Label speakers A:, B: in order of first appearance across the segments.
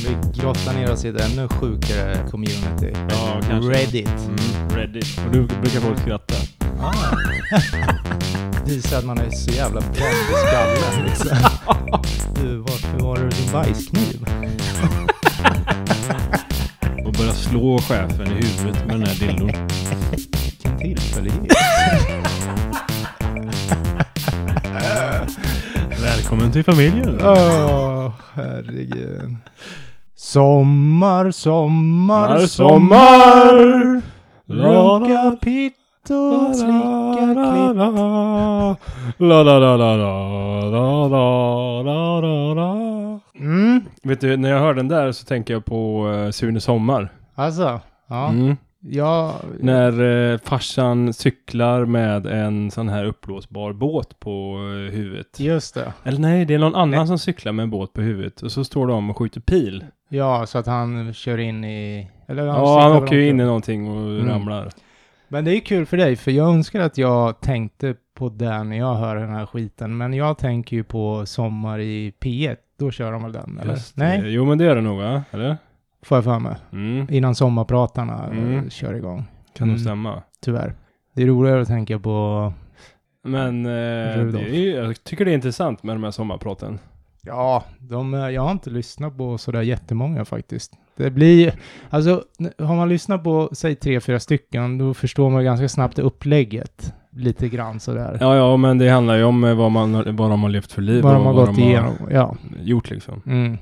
A: Vi grottar ner oss i ett ännu sjukare community.
B: Ja, kanske.
A: Reddit.
B: Mm, Reddit. Och du brukar folk skratta.
A: Ah. Visar att man är så jävla bränd i skallen liksom. Du, varför var du din bajskniv?
B: Och börja slå chefen i huvudet med den här dildon.
A: Vilken tillfällighet.
B: Välkommen till familjen.
A: Åh, herregud. Sommar, sommar, sommar. Runka pittor, slicka klipp. Mm,
B: Vet du, när jag hör den där så tänker jag på eh, Sune Sommar.
A: alltså. Ja,
B: Mm.
A: ja.
B: När eh, farsan cyklar med en sån här uppblåsbar båt på eh, huvudet.
A: Just det.
B: Eller nej, det är någon annan som cyklar med en båt på huvudet och så står de och skjuter pil.
A: Ja, så att han kör in i... Eller
B: Ja,
A: cyklar
B: han
A: väl
B: åker ju
A: omkring.
B: in i någonting och
A: Mm.
B: ramlar.
A: Men det är kul för dig, för jag önskar att jag tänkte på det när jag hör den här skiten. Men jag tänker ju på Sommar i P1. Då kör de väl den, eller?
B: Just det.
A: Nej,
B: Jo, men det är det nog, va? Eller?
A: får jag för mig.
B: Mm.
A: Innan sommarpratarna eh,
B: Mm.
A: kör igång,
B: Kan nog
A: Mm.
B: stämma.
A: tyvärr. Det är roligare att tänka på...
B: Men eh, det
A: Mm. Rudolf.
B: är, ju- jag tycker det är intressant med de här sommarpraten.
A: Ja, de, eh, jag har inte lyssnat på sådär jättemånga faktiskt. Det blir... Alltså, n- har man lyssnat på, säg tre, fyra stycken, då förstår man ganska snabbt upplägget. Lite grann sådär.
B: Ja, ja, men det handlar ju om eh, vad, man, har- vad de har levt för liv.
A: Vad de
B: och
A: har gått igenom, ja.
B: Gjort liksom.
A: Mm.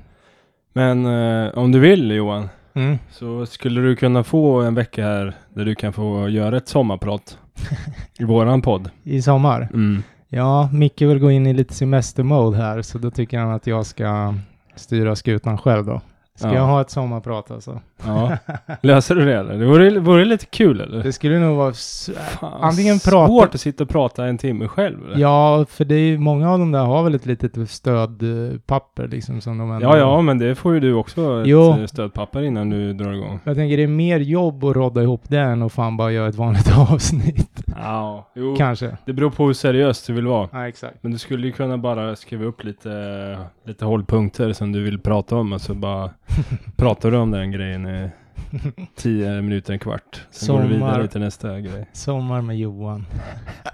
B: Men eh, om du vill Johan,
A: Mm.
B: så skulle du kunna få en vecka här där du kan få göra ett sommarprat. I våran podd.
A: I sommar.
B: Mm.
A: Ja, Micke vill gå in i lite semestermode här, så då tycker han att jag ska styra skutan själv då. Ska
B: Ja.
A: jag ha ett sommarprat alltså?
B: Ja. Löser du det eller? Det vore, vore lite kul eller?
A: Det skulle nog vara... s-
B: Fan,
A: antingen
B: svårt
A: prata-
B: att sitta och prata en timme själv. Eller?
A: Ja, för det är ju, många av dem där har väl ett litet stödpapper liksom som de ändå...
B: Ja, ja, men det får ju du också ett
A: Jo.
B: eh, stödpapper innan du drar igång.
A: Jag tänker det är mer jobb att rodda ihop det än att fan bara göra ett vanligt avsnitt.
B: Ja, jo.
A: Kanske.
B: Det beror på hur seriöst du vill vara.
A: Ja, exakt.
B: Men du skulle ju kunna bara skriva upp lite, lite hållpunkter som du vill prata om och så bara pratar du om den grejen i tio minuter, en kvart. Sen går du
A: Sommar.
B: vidare till nästa grej.
A: Sommar med Johan.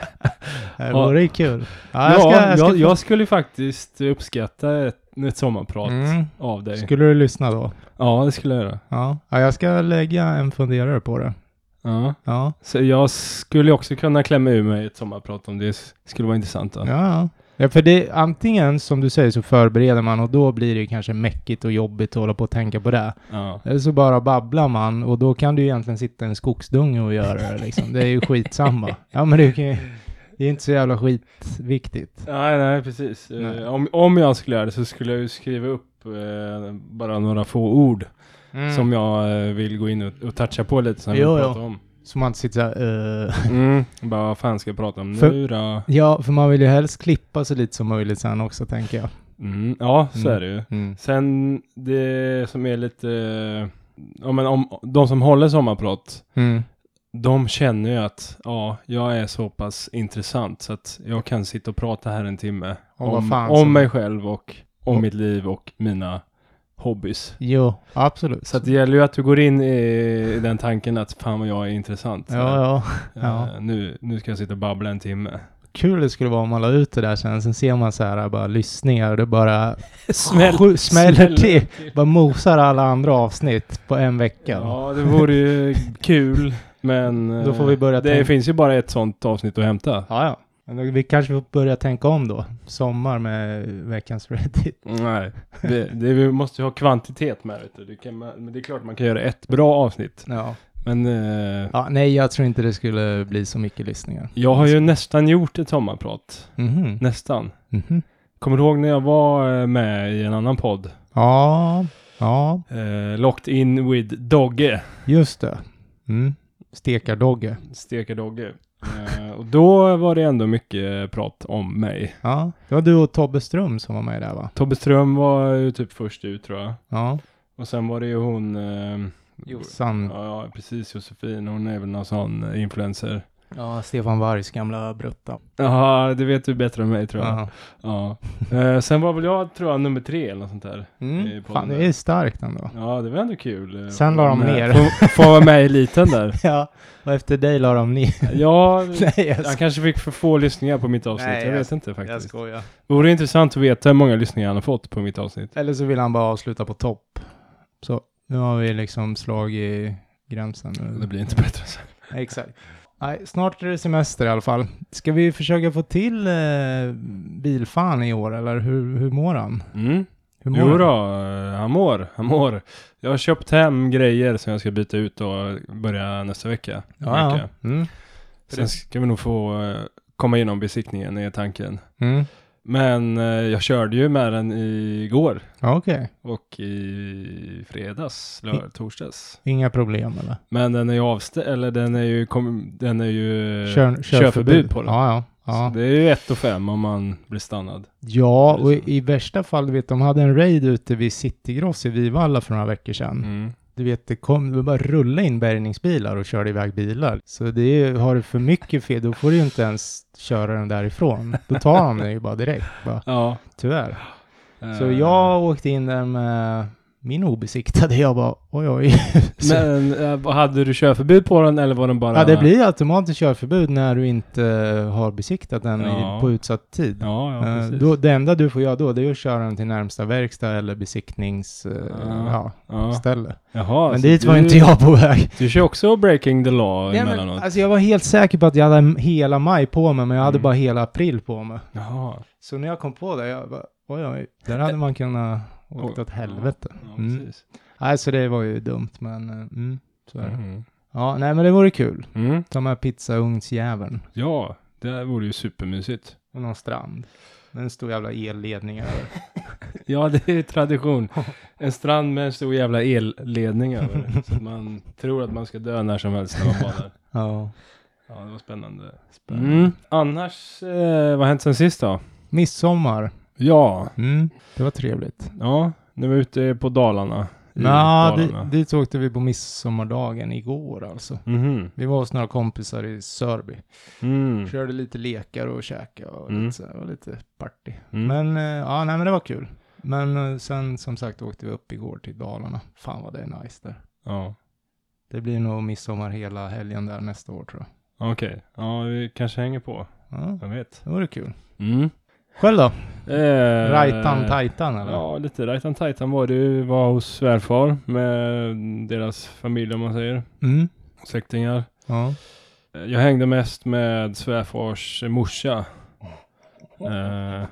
A: det
B: Ja.
A: vore ju kul.
B: Ja,
A: Ja,
B: jag,
A: jag ska, jag ska
B: jag, skulle faktiskt uppskatta ett, ett sommarprat
A: Mm.
B: av dig.
A: Skulle du lyssna då?
B: Ja, det skulle jag göra.
A: Ja. ja, jag ska lägga en funderare på det.
B: Ja.
A: Ja,
B: Så jag skulle också kunna klämma ur mig ett sommarprat om det s- skulle vara intressant. Då.
A: ja. ja. ja för det, antingen som du säger så förbereder man och då blir det ju kanske mäckigt och jobbigt att hålla på och tänka på det.
B: Ja.
A: Eller så bara babblar man och då kan du ju egentligen sitta i en skogsdunge och göra det liksom. Det är ju skitsamma. Ja, men det, kan ju, det är inte så jävla skitviktigt.
B: Nej, nej, precis. Eh,
A: Nej.
B: Om, om jag skulle göra det så skulle jag ju skriva upp eh, bara några få ord
A: Mm.
B: som jag eh, vill gå in och, och toucha på lite som
A: Jo,
B: jag
A: jo.
B: vill prata om.
A: Så man inte sitter så här, eh.
B: Mm. Bara vad fan ska jag prata om
A: För-
B: nu då?
A: Ja, för man vill ju helst klippa så lite som möjligt sen också, tänker jag.
B: Mm. Ja, så
A: Mm.
B: är det ju. Sen det som är lite, eh, ja men om de som håller sommarprat,
A: Mm.
B: de känner ju att ja, jag är så pass intressant så att jag kan sitta och prata här en timme
A: Om vad
B: om,
A: fan
B: om
A: som-
B: mig själv och om
A: Och-
B: mitt liv och mina hobbys.
A: Jo, absolut.
B: Så att det gäller ju att du går in i, i den tanken att fan vad jag är intressant.
A: ja, ja.
B: Eh,
A: ja.
B: Nu, nu ska jag sitta och babbla en timme.
A: kul det skulle vara om man la ut det där sen, sen ser man så här bara lyssningar och det bara
B: Smäll-
A: sju- smäller
B: smäller
A: till. Bara mosar alla andra avsnitt på en vecka.
B: Ja, det vore ju kul. Men eh,
A: Då får vi börja
B: det
A: tänka-
B: finns ju bara ett sånt avsnitt att hämta.
A: ja. ja. Men då- Vi kanske får börja tänka om då. Sommar med veckans Reddit.
B: Nej, det, det, vi måste ju ha kvantitet med vet du. det. Kan man, men det är klart man kan göra ett bra avsnitt.
A: Ja.
B: Men eh,
A: ja. Nej, jag tror inte det skulle bli så mycket lyssningar.
B: jag har ju nästan gjort ett sommarprat.
A: Mhm.
B: Nästan.
A: Mhm.
B: Kommer du ihåg när jag var eh, med i en annan podd?
A: Ja, ja,
B: Eh, Locked in with Dogge.
A: just det. Mm. Stekardogge.
B: Steka Dogge. Eh, och då var det ändå mycket prat om mig.
A: Ja, det var du och Tobbe Ström som var med där va?
B: Tobbe Ström var ju typ först ut tror jag.
A: Ja.
B: Och sen var det ju hon... Eh,
A: San...
B: Ja, ja, precis Josefin. Hon är väl någon sån influencer.
A: Ja, Stefan Wargs gamla brutta.
B: Jaha, det vet du bättre än mig tror jag.
A: Ja.
B: Ja. Eh, sen var väl jag, tror jag, nummer tre eller något sånt där.
A: Mm.
B: i podden
A: Fan,
B: Eh, där.
A: det är starkt ändå.
B: Ja, det var ändå kul. eh,
A: Sen la de
B: med-
A: ner.
B: Få, få vara med i eliten där.
A: Ja, och efter dig la de ner.
B: Ja,
A: Nej, jag,
B: han kanske fick för få lyssningar på mitt avsnitt.
A: Nej,
B: jag
A: jag-
B: vet inte
A: jag
B: faktiskt.
A: skojar.
B: Vore intressant att veta hur många lyssningar han har fått på mitt avsnitt.
A: Eller så vill han bara avsluta på topp. Så nu har vi liksom slag i gränsen.
B: Det blir inte bättre så.
A: Exakt. Nej, snart är det semester i alla fall. Ska vi försöka få till eh, bilfan i år, eller hur, hur mår han?
B: Mm.
A: Hur mår
B: Jo
A: han?
B: då, eh, han mår, han mår. Jag har köpt hem grejer som jag ska byta ut och börja nästa vecka.
A: Ja, ja.
B: Mycket.
A: Mm.
B: Sen ska vi nog få eh, komma igenom besiktningen, är tanken.
A: Mm.
B: Men eh, jag körde ju med den igår
A: Ja, Okej,
B: och i fredags,
A: Mm.
B: lördag, torsdags.
A: inga problem eller?
B: Men den är ju avställd, eller den är ju, kom, den är ju eh,
A: Kör,
B: körförbud på den.
A: Ja, ja. ja.
B: Så det är ju ett och fem om man blir stannad.
A: Ja, och i, i värsta fall, du vet, de hade en raid ute vid Citygross i Vivalla för några veckor sedan.
B: Mm.
A: Du vet, det kom, det bara rulla in bärgningsbilar och körde iväg bilar. Så det är, ju- har du för mycket fel, då får du ju inte ens köra den därifrån. Då tar de den ju bara direkt, bara,
B: Ja.
A: tyvärr. Så
B: Eh,
A: jag åkte in där med min obesiktade, jag bara oj oj. Så,
B: Men eh, hade du körförbud på den eller var den bara...
A: ja, det blir automatiskt körförbud när du inte har besiktat den
B: Ja.
A: i, på utsatt tid.
B: Ja, ja
A: Eh,
B: precis.
A: då, det enda du får göra då, det är att köra den till närmsta verkstad eller besiktningsställe.
B: Ja.
A: ja.
B: Ah. ja.
A: ställe.
B: Jaha,
A: men
B: så
A: dit
B: du,
A: var inte jag på väg.
B: Du kör också breaking the law
A: Nej, men,
B: emellanåt?
A: alltså jag var helt säker på att jag hade hela maj på mig, men jag hade
B: Mm.
A: bara hela april på mig.
B: Jaha.
A: Så när jag kom på det, jag bara, oj, oj, där hade man kunnat åkt
B: Oj.
A: åt helvete.
B: Ja,
A: Mm.
B: precis.
A: Nej, så det var ju dumt, men eh, mm, så är det.
B: Mm.
A: Ja, nej, men det vore kul.
B: Mm.
A: Ta med pizzaugnsjäveln
B: Ja, det här vore ju supermysigt.
A: och någon strand. Med en stor jävla elledning över.
B: Ja, det är tradition. En strand med en stor jävla elledning över. så att man tror att man ska dö när som helst när man badar.
A: Ja.
B: Ja, det var spännande.
A: Spännande.
B: Mm. Annars, eh, vad har hänt sen sist då?
A: Midsommar.
B: Ja,
A: Mm, det var trevligt.
B: ja, nu är vi ute på Dalarna. I
A: Ja,
B: Dalarna.
A: dit, dit åkte vi på midsommardagen igår alltså.
B: Mhm.
A: Vi var hos några kompisar i Sörby.
B: Mm.
A: Körde lite lekar och käka och
B: Mm.
A: lite, så här, och lite party.
B: Mm.
A: Men eh, ja, nej men det var kul. Men eh, sen som sagt åkte vi upp igår till Dalarna. Fan vad det är nice där.
B: Ja,
A: Det blir nog midsommar hela helgen där nästa år tror jag.
B: okej. Ja, vi kanske hänger på.
A: Ja,
B: Jag vet.
A: det vore kul.
B: Mm.
A: Själv då?
B: Eh,
A: Rajtan Tajtan eller?
B: Ja, lite Rajtan Tajtan var det ju. Var hos svärfar med deras familj om man säger.
A: Mm.
B: Släktingar.
A: Ja.
B: Eh, Jag hängde mest med svärfars morsa. Eh,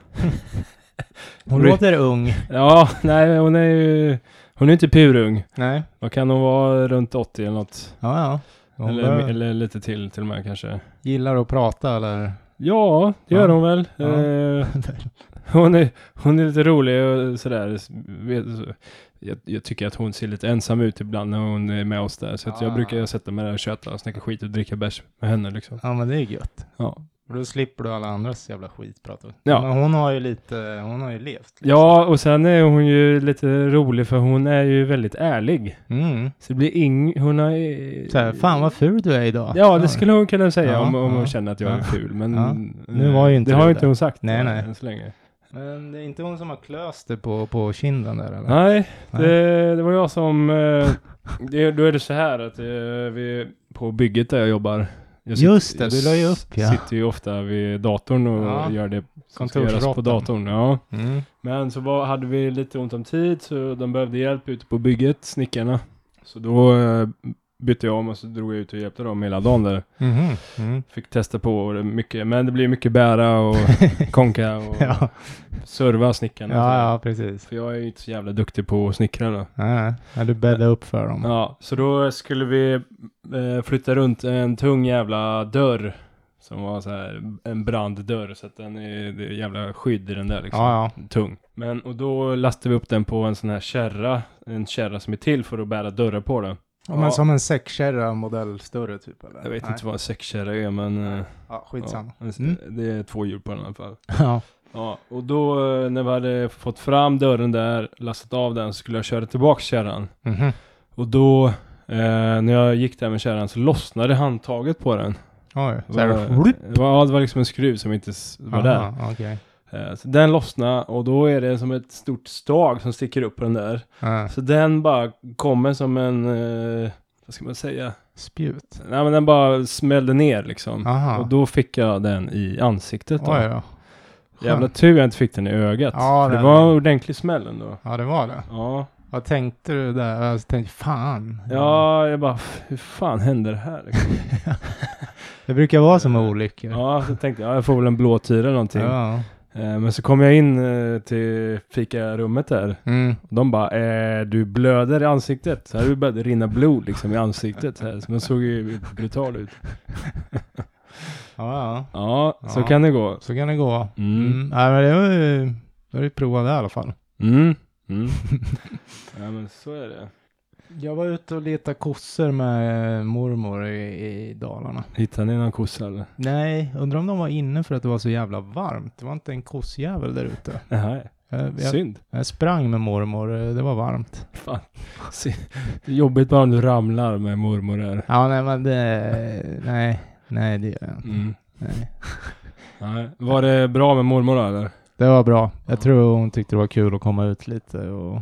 A: Hon
B: Ry-
A: låter ung.
B: ja, nej hon är ju... Hon är inte purung.
A: Nej.
B: Vad kan hon vara? Runt 80 eller något.
A: Ja, ja. Hon
B: Eller,
A: bör-
B: eller lite till till och med kanske.
A: gillar att prata eller?
B: Ja, det gör
A: Ja.
B: hon väl.
A: Ja.
B: Eh, hon, är, hon är lite rolig och sådär. Vet- Jag, jag tycker att hon ser lite ensam ut ibland när hon är med oss där. Så att jag
A: Ah.
B: brukar sätta mig där och köta och snacka skit och dricka bärs med henne liksom.
A: Ja, men det är gött.
B: Ja,
A: Och då slipper du alla andras jävla skitprat.
B: Ja.
A: Men hon har ju lite, hon har ju levt.
B: ja och sen är hon ju lite rolig för hon är ju väldigt ärlig.
A: Mm.
B: Så det blir ing... Hon har... eh,
A: Så här, fan vad ful du är idag.
B: Ja, det skulle hon kunna säga
A: Ja,
B: om, om hon
A: ja.
B: känner att jag är
A: Ja.
B: ful. Men
A: Ja.
B: eh,
A: Nu var ju inte
B: det har
A: du
B: ju inte
A: där.
B: hon sagt
A: Nej,
B: eh,
A: nej.
B: än så länge.
A: Men det är inte hon som har klöst det på, på kinden där eller?
B: Nej,
A: Nej.
B: det, det var jag som... eh, det, då är det så här att eh, vi, på bygget där jag jobbar. Jag
A: Just det,
B: jag
A: du la ju upp, ja.
B: sitter ju ofta vid datorn och
A: Ja.
B: gör det som ska
A: Kontorsrotten.
B: göras på datorn. Ja.
A: Mm.
B: Men så var, hade vi lite ont om tid så de behövde hjälp ute på bygget, snickarna. Så då eh, bytte jag om och så drog jag ut och hjälpte dem hela dagen där.
A: Mhm. Mm.
B: Fick testa på och det är mycket, men det blir mycket bära och konka och
A: Ja.
B: serva snickarna.
A: ja, ja, precis.
B: För jag är ju inte så jävla duktig på att snickra då.
A: Nej, ja, du bäddade upp för dem.
B: Ja, så då skulle vi eh, flytta runt en tung jävla dörr. Som var så här en branddörr så att den är det är jävla skydd i den där liksom.
A: Ja,
B: Tung. Men och då lastade vi upp den på en sån här kärra. En kärra som är till för att bära dörrar på den.
A: ja.
B: Ja.
A: Men som en sexkärra modell större typ eller?
B: Jag vet
A: Nej.
B: inte vad en säckkärra är men... eh,
A: Ja, skitsamma.
B: Ja, en-
A: Mm.
B: Det är två hjul på den i alla fall.
A: Ja.
B: Ja, och då eh, när vi hade fått fram dörren där, lastat av den, så skulle jag köra tillbaka kärran.
A: Mhm.
B: Och då, eh, när jag gick där med kärran så lossnade handtaget på den.
A: Oj,
B: Det
A: så här,
B: var, det var- ja, det var liksom en skruv som inte s- var där.
A: Aha, okej.
B: Eh, Så den lossnade och då är det som ett stort stag som sticker upp på den där.
A: Ja,
B: Så den bara kommer som en, eh, vad ska man säga?
A: spjut.
B: Nej men den bara smällde ner liksom.
A: Aha.
B: Och då fick jag den i ansiktet då.
A: Oj då.
B: Jävla
A: Skönt.
B: tur jag inte fick den i ögat.
A: Ja,
B: för det
A: den-
B: var en ordentlig smäll ändå.
A: Ja, det var det.
B: Ja.
A: Vad tänkte du där? Jag tänkte, fan.
B: ja, jag bara, "F- hur fan hände det här? Liksom?
A: Det brukar vara som olyckor.
B: ja, så tänkte jag, ja, jag får väl en blå tyra eller någonting.
A: Ja.
B: Eh, Men så kom jag in eh, till fikarummet där.
A: Mm.
B: Och De bara, eh, du blöder i ansiktet. Så här det började rinna blod liksom i ansiktet. Så, här. så man såg ju brutal ut.
A: ja, ja.
B: Ja, så
A: Ja.
B: kan det gå.
A: Så kan det gå.
B: Mm.
A: Mm. Nej, men det var ju... Då har du provat det i alla fall.
B: Mm. Mm. ja, men så är det.
A: Jag var ute och letade kossor med eh, mormor i, i Dalarna.
B: Hittade ni någon kossa eller?
A: Nej, undrar om de var inne för att det var så jävla varmt. Det var inte en kossjävel där ute.
B: Nej,
A: Jag, jag,
B: synd.
A: jag sprang med mormor, eh, det var varmt.
B: Fan. Sy- Det är jobbigt bara om du ramlar med mormor där.
A: Ja, nej men det... Nej, nej det gör jag inte.
B: Mm.
A: Nej.
B: Nej. Var det bra med mormor då, eller?
A: Det var bra. Jag
B: Ja.
A: tror hon tyckte det var kul att komma ut lite och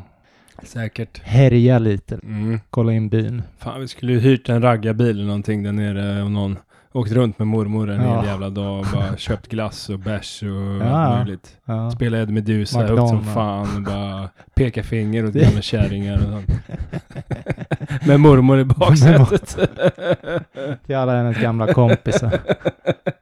B: Säkert.
A: härja lite.
B: Mm.
A: Kolla in byn.
B: Fan, vi skulle ju hyrt en raggarbil eller någonting där nere och någon åkt runt med mormor en
A: Ja.
B: hel jävla dag och bara köpt glass och bärs och
A: Ja.
B: allt möjligt.
A: Ja.
B: Spela Ed Meduza högt som
A: McDonald's.
B: fan och bara peka finger åt
A: Det-
B: gamla kärringar och sånt. med mormor i baksätet.
A: Till alla hennes gamla kompisar.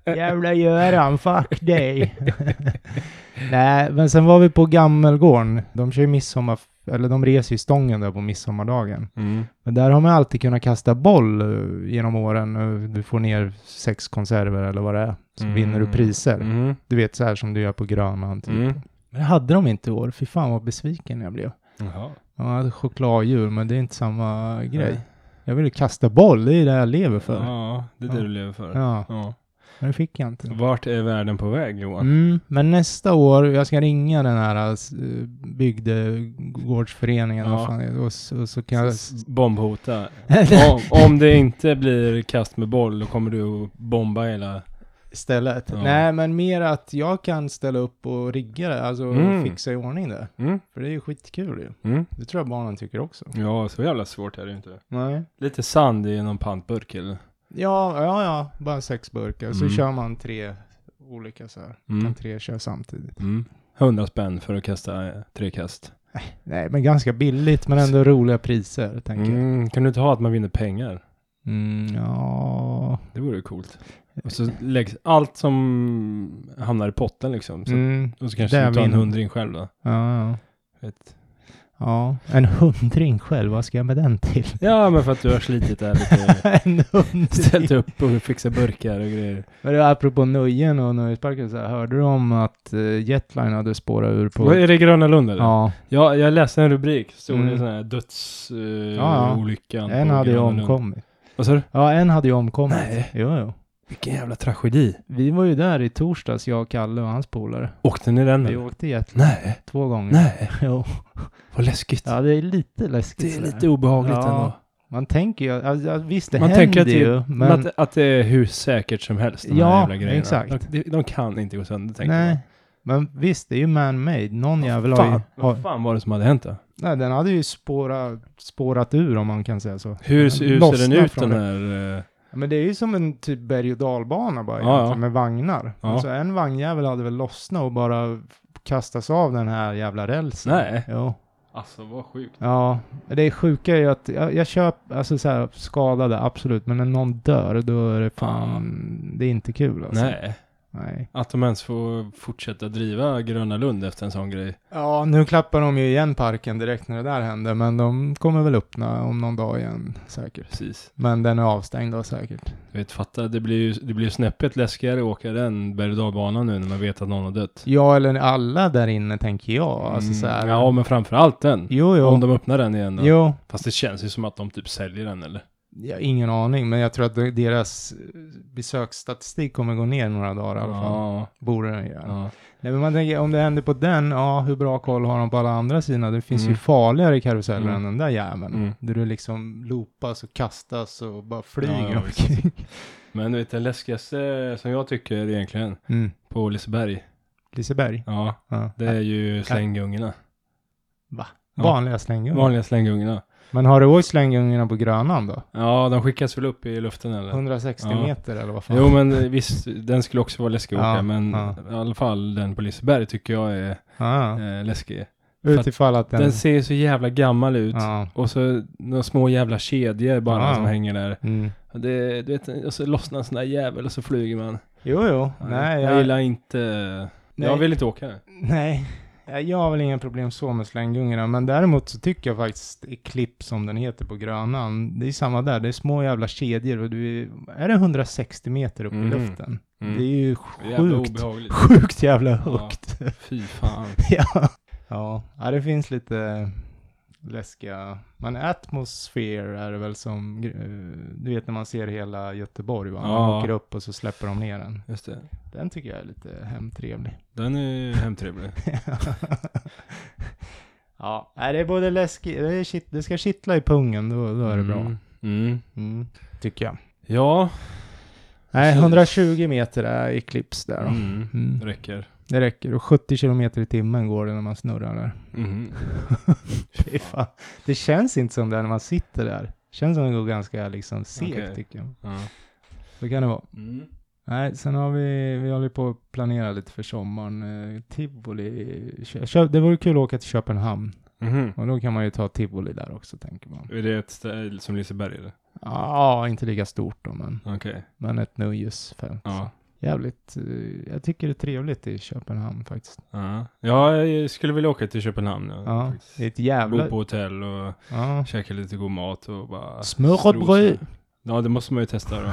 A: Jävla Göran, fuck dig. Nej, men sen var vi på Gammelgården. De kör ju midsommar, eller de reser ju stången där på midsommardagen.
B: mm.
A: Men där har man alltid kunnat kasta boll eh, genom åren. Eh, Du får ner sex konserver eller vad det är. Så
B: Mm.
A: vinner du priser.
B: Mm.
A: Du vet så här som du gör på Grönland. Typ.
B: Mm.
A: Men det hade de inte i år. Fy fan vad besviken jag blev.
B: Jaha.
A: De hade chokladdjur, men det är inte samma grej. Jag ville kasta boll, det är det jag lever för.
B: Ja, det är det
A: Ja.
B: du lever för.
A: Ja,
B: Ja.
A: men det fick jag inte.
B: Vart är världen på väg Johan?
A: Mm, men nästa år, jag ska ringa den här eh, bygdegårdsföreningen
B: Ja.
A: vad fan, är det? och, så- och så kan jag...
B: S- Bombhota. om, om det inte blir kast med boll, då kommer du att bomba hela...
A: Istället.
B: Ja.
A: Nej, men mer att jag kan ställa upp och rigga det, alltså
B: Mm.
A: fixa i ordning det.
B: Mm.
A: För det är ju skitkul ju.
B: Mm.
A: Det tror jag barnen tycker också.
B: Ja, så jävla svårt är det ju inte.
A: Nej.
B: Lite sand i någon pantburk eller?
A: Ja, ja, ja, bara sex burkar. Så
B: Mm.
A: kör man tre olika så här.
B: Mm.
A: Kan tre köra samtidigt.
B: Mm. 100 spänn för att kasta eh, tre kast.
A: Äh, Nej, men ganska billigt, men ändå roliga priser, tänker jag.
B: Mm. Kan du inte ha att man vinner pengar?
A: Mm, ja...
B: Det vore ju coolt. Och så läggs allt som hamnar i potten liksom. Så,
A: Mm,
B: Och så kanske
A: Där
B: du tar en
A: vinner-
B: hundring själv då.
A: ja, ja.
B: Ett.
A: Ja, en hundring själv, vad ska jag med den till?
B: Ja, men för att du har slitit där lite.
A: en hundring.
B: Ställt upp och fixat burkar och grejer.
A: Men det var apropå nöjen och nöjesparker, så här, hörde du om att eh, Jetline hade spårat ur på...
B: Vad Är det Gröna Lund eller?
A: Ja,
B: Ja, jag läste en rubrik. Stod det
A: Mm.
B: sån här dödsolyckan eh,
A: Ja, ja.
B: olyckan
A: en
B: på
A: hade ju
B: Gröna Lund.
A: omkommit.
B: Vad sa du?
A: Ja, en hade ju omkommit.
B: Nej.
A: Jo, jo.
B: Vilken jävla tragedi.
A: Vi var ju där i torsdags, jag, Kalle och hans polare.
B: Åkte ni den?
A: Vi
B: eller?
A: åkte Jetline
B: Mm. Nej,
A: två gånger.
B: nej.
A: Jo.
B: Vad läskigt.
A: Ja, det är lite läskigt.
B: det är
A: sådär.
B: lite obehagligt
A: Ja.
B: ändå.
A: Man tänker ju, alltså, visst det
B: Man
A: händer
B: tänker att det-
A: ju,
B: Men...
A: men...
B: Att, att det är hur säkert som helst, de här
A: Ja,
B: jävla grejerna.
A: exakt.
B: De, de kan inte gå sönder, tänker
A: nej.
B: jag.
A: Men visst, det är ju man-made. Någon jävel har
B: Fan,
A: ju... har-
B: vad fan var det som hade hänt då?
A: Nej, den hade ju spåra, spårat ur om man kan säga så.
B: Hur, s- hur ser den
A: Lossna
B: ut
A: från
B: den här... eh,
A: Ja, Men det är ju som en typ berg och dalbana bara
B: Ja,
A: egentligen,
B: ja.
A: med vagnar.
B: Ja.
A: Alltså en vagnjävel hade väl lossnat och bara kastas av den här jävla rälsen.
B: Nej.
A: Jo.
B: Alltså vad sjukt.
A: Ja, men det sjuka är ju att jag, jag köper, alltså så här skadade, absolut, men när någon dör då är det fan, det är inte kul alltså.
B: Nej,
A: Nej.
B: att de ens får fortsätta driva Gröna Lund efter en sån grej.
A: Ja, nu klappar de ju igen parken direkt när det där händer, men de kommer väl öppna om någon dag igen säkert.
B: Precis.
A: Men den är avstängd då säkert.
B: Du vet, fatta, det blir ju det blir ju snäppet läskigare att åka den berg och dalbanan nu när man vet att någon har dött.
A: Ja, eller alla där inne tänker jag. Alltså
B: Mm,
A: så här.
B: Ja, men framför allt den.
A: Jo, jo.
B: Om de öppnar den igen då.
A: Jo.
B: Fast det känns ju som att de typ säljer den eller?
A: Ja, ingen aning, men jag tror att de- deras eh, besöksstatistik kommer gå ner några dagar i alla fall.
B: Ja,
A: Borde den göra.
B: ja.
A: Nej, men man tänker, om det händer på den, ja, hur bra koll har de på alla andra sidorna? Det finns
B: Mm.
A: ju farligare karuseller
B: Mm.
A: än den där jäveln.
B: Mm.
A: Där du liksom loopas och kastas och bara flyger
B: Ja, ja,
A: omkring.
B: Men du vet den läskigaste som jag tycker egentligen
A: Mm.
B: på Liseberg.
A: Liseberg?
B: Ja,
A: Ja.
B: det är ju slänggungorna.
A: Va?
B: Ja.
A: Vanliga slänggungor?
B: Vanliga slänggungorna.
A: Men har du åkt slänggungorna på Grönan då?
B: Ja, de skickas väl upp i luften eller?
A: 160
B: Ja.
A: meter eller vad fan?
B: Jo men visst, den skulle också vara läskig att
A: Ja,
B: åka, men
A: ja.
B: i alla fall den på Liseberg tycker jag är
A: Ja.
B: eh, läskig.
A: Utifall att den...
B: Den ser ju så jävla gammal ut.
A: ja.
B: Och så några små jävla kedjor bara
A: Ja.
B: som hänger där.
A: Mm.
B: Och Det, du vet, och så lossnar en sån där jävel och så flyger man.
A: Jo, jo. Nej,
B: jag,
A: jag,
B: gillar inte... Jag
A: Nej.
B: vill inte åka.
A: Nej, eh, jag har väl inga problem så med slänggungorna, men däremot så tycker jag faktiskt i klipp som den heter på Grönan, det är samma där, det är små jävla kedjor och du är, är det 160 meter upp
B: Mm.
A: i luften?
B: Mm.
A: Det är ju
B: Jävla
A: sjukt,
B: obehagligt.
A: sjukt jävla
B: Ja.
A: högt. Ja.
B: Fy fan.
A: ja. ja, det finns lite läskiga, men atmosfär är det väl som, eh, du vet när man ser hela Göteborg va? Man
B: Ja.
A: åker upp och så släpper de ner den.
B: Just det.
A: Den tycker jag är lite hemtrevlig.
B: Den är ju hemtrevlig.
A: ja, nej, det är både läskigt, det, är kitt, det ska kittla i pungen, då, då är det bra.
B: Mm. Mm.
A: Mm, tycker jag.
B: Ja.
A: Nej,
B: Precis.
A: 120 meter är i clips där då.
B: Mm.
A: Mm.
B: Det räcker.
A: Det räcker. Och 70 kilometer i timmen går det när man snurrar där.
B: Mm.
A: Fy fan. Det känns inte som det när man sitter där. Det känns som det går ganska liksom segt
B: Okej.
A: tycker jag.
B: Ja.
A: Så kan det vara.
B: Mm.
A: Nej, sen har vi, vi håller på att planera lite för sommaren. Eh, Tivoli, Kö- Kö- det vore kul att åka till Köpenhamn.
B: Mhm.
A: Och då kan man ju ta Tivoli där också tänker man.
B: Är det ett ställe som Liseberg eller?
A: Ja, inte lika stort då, men,
B: Okej.
A: men ett nöjesfält.
B: Ja.
A: Jävligt, eh, jag tycker det är trevligt i Köpenhamn faktiskt.
B: ja. Ja, jag skulle vilja åka till Köpenhamn. Ja.
A: Ja,
B: Faktiskt.
A: det är ett
B: Bo
A: jävla...
B: på hotell och
A: Ja.
B: käka lite god mat och bara...
A: Smörrebröd!
B: strosa. Ja, det måste man ju testa då.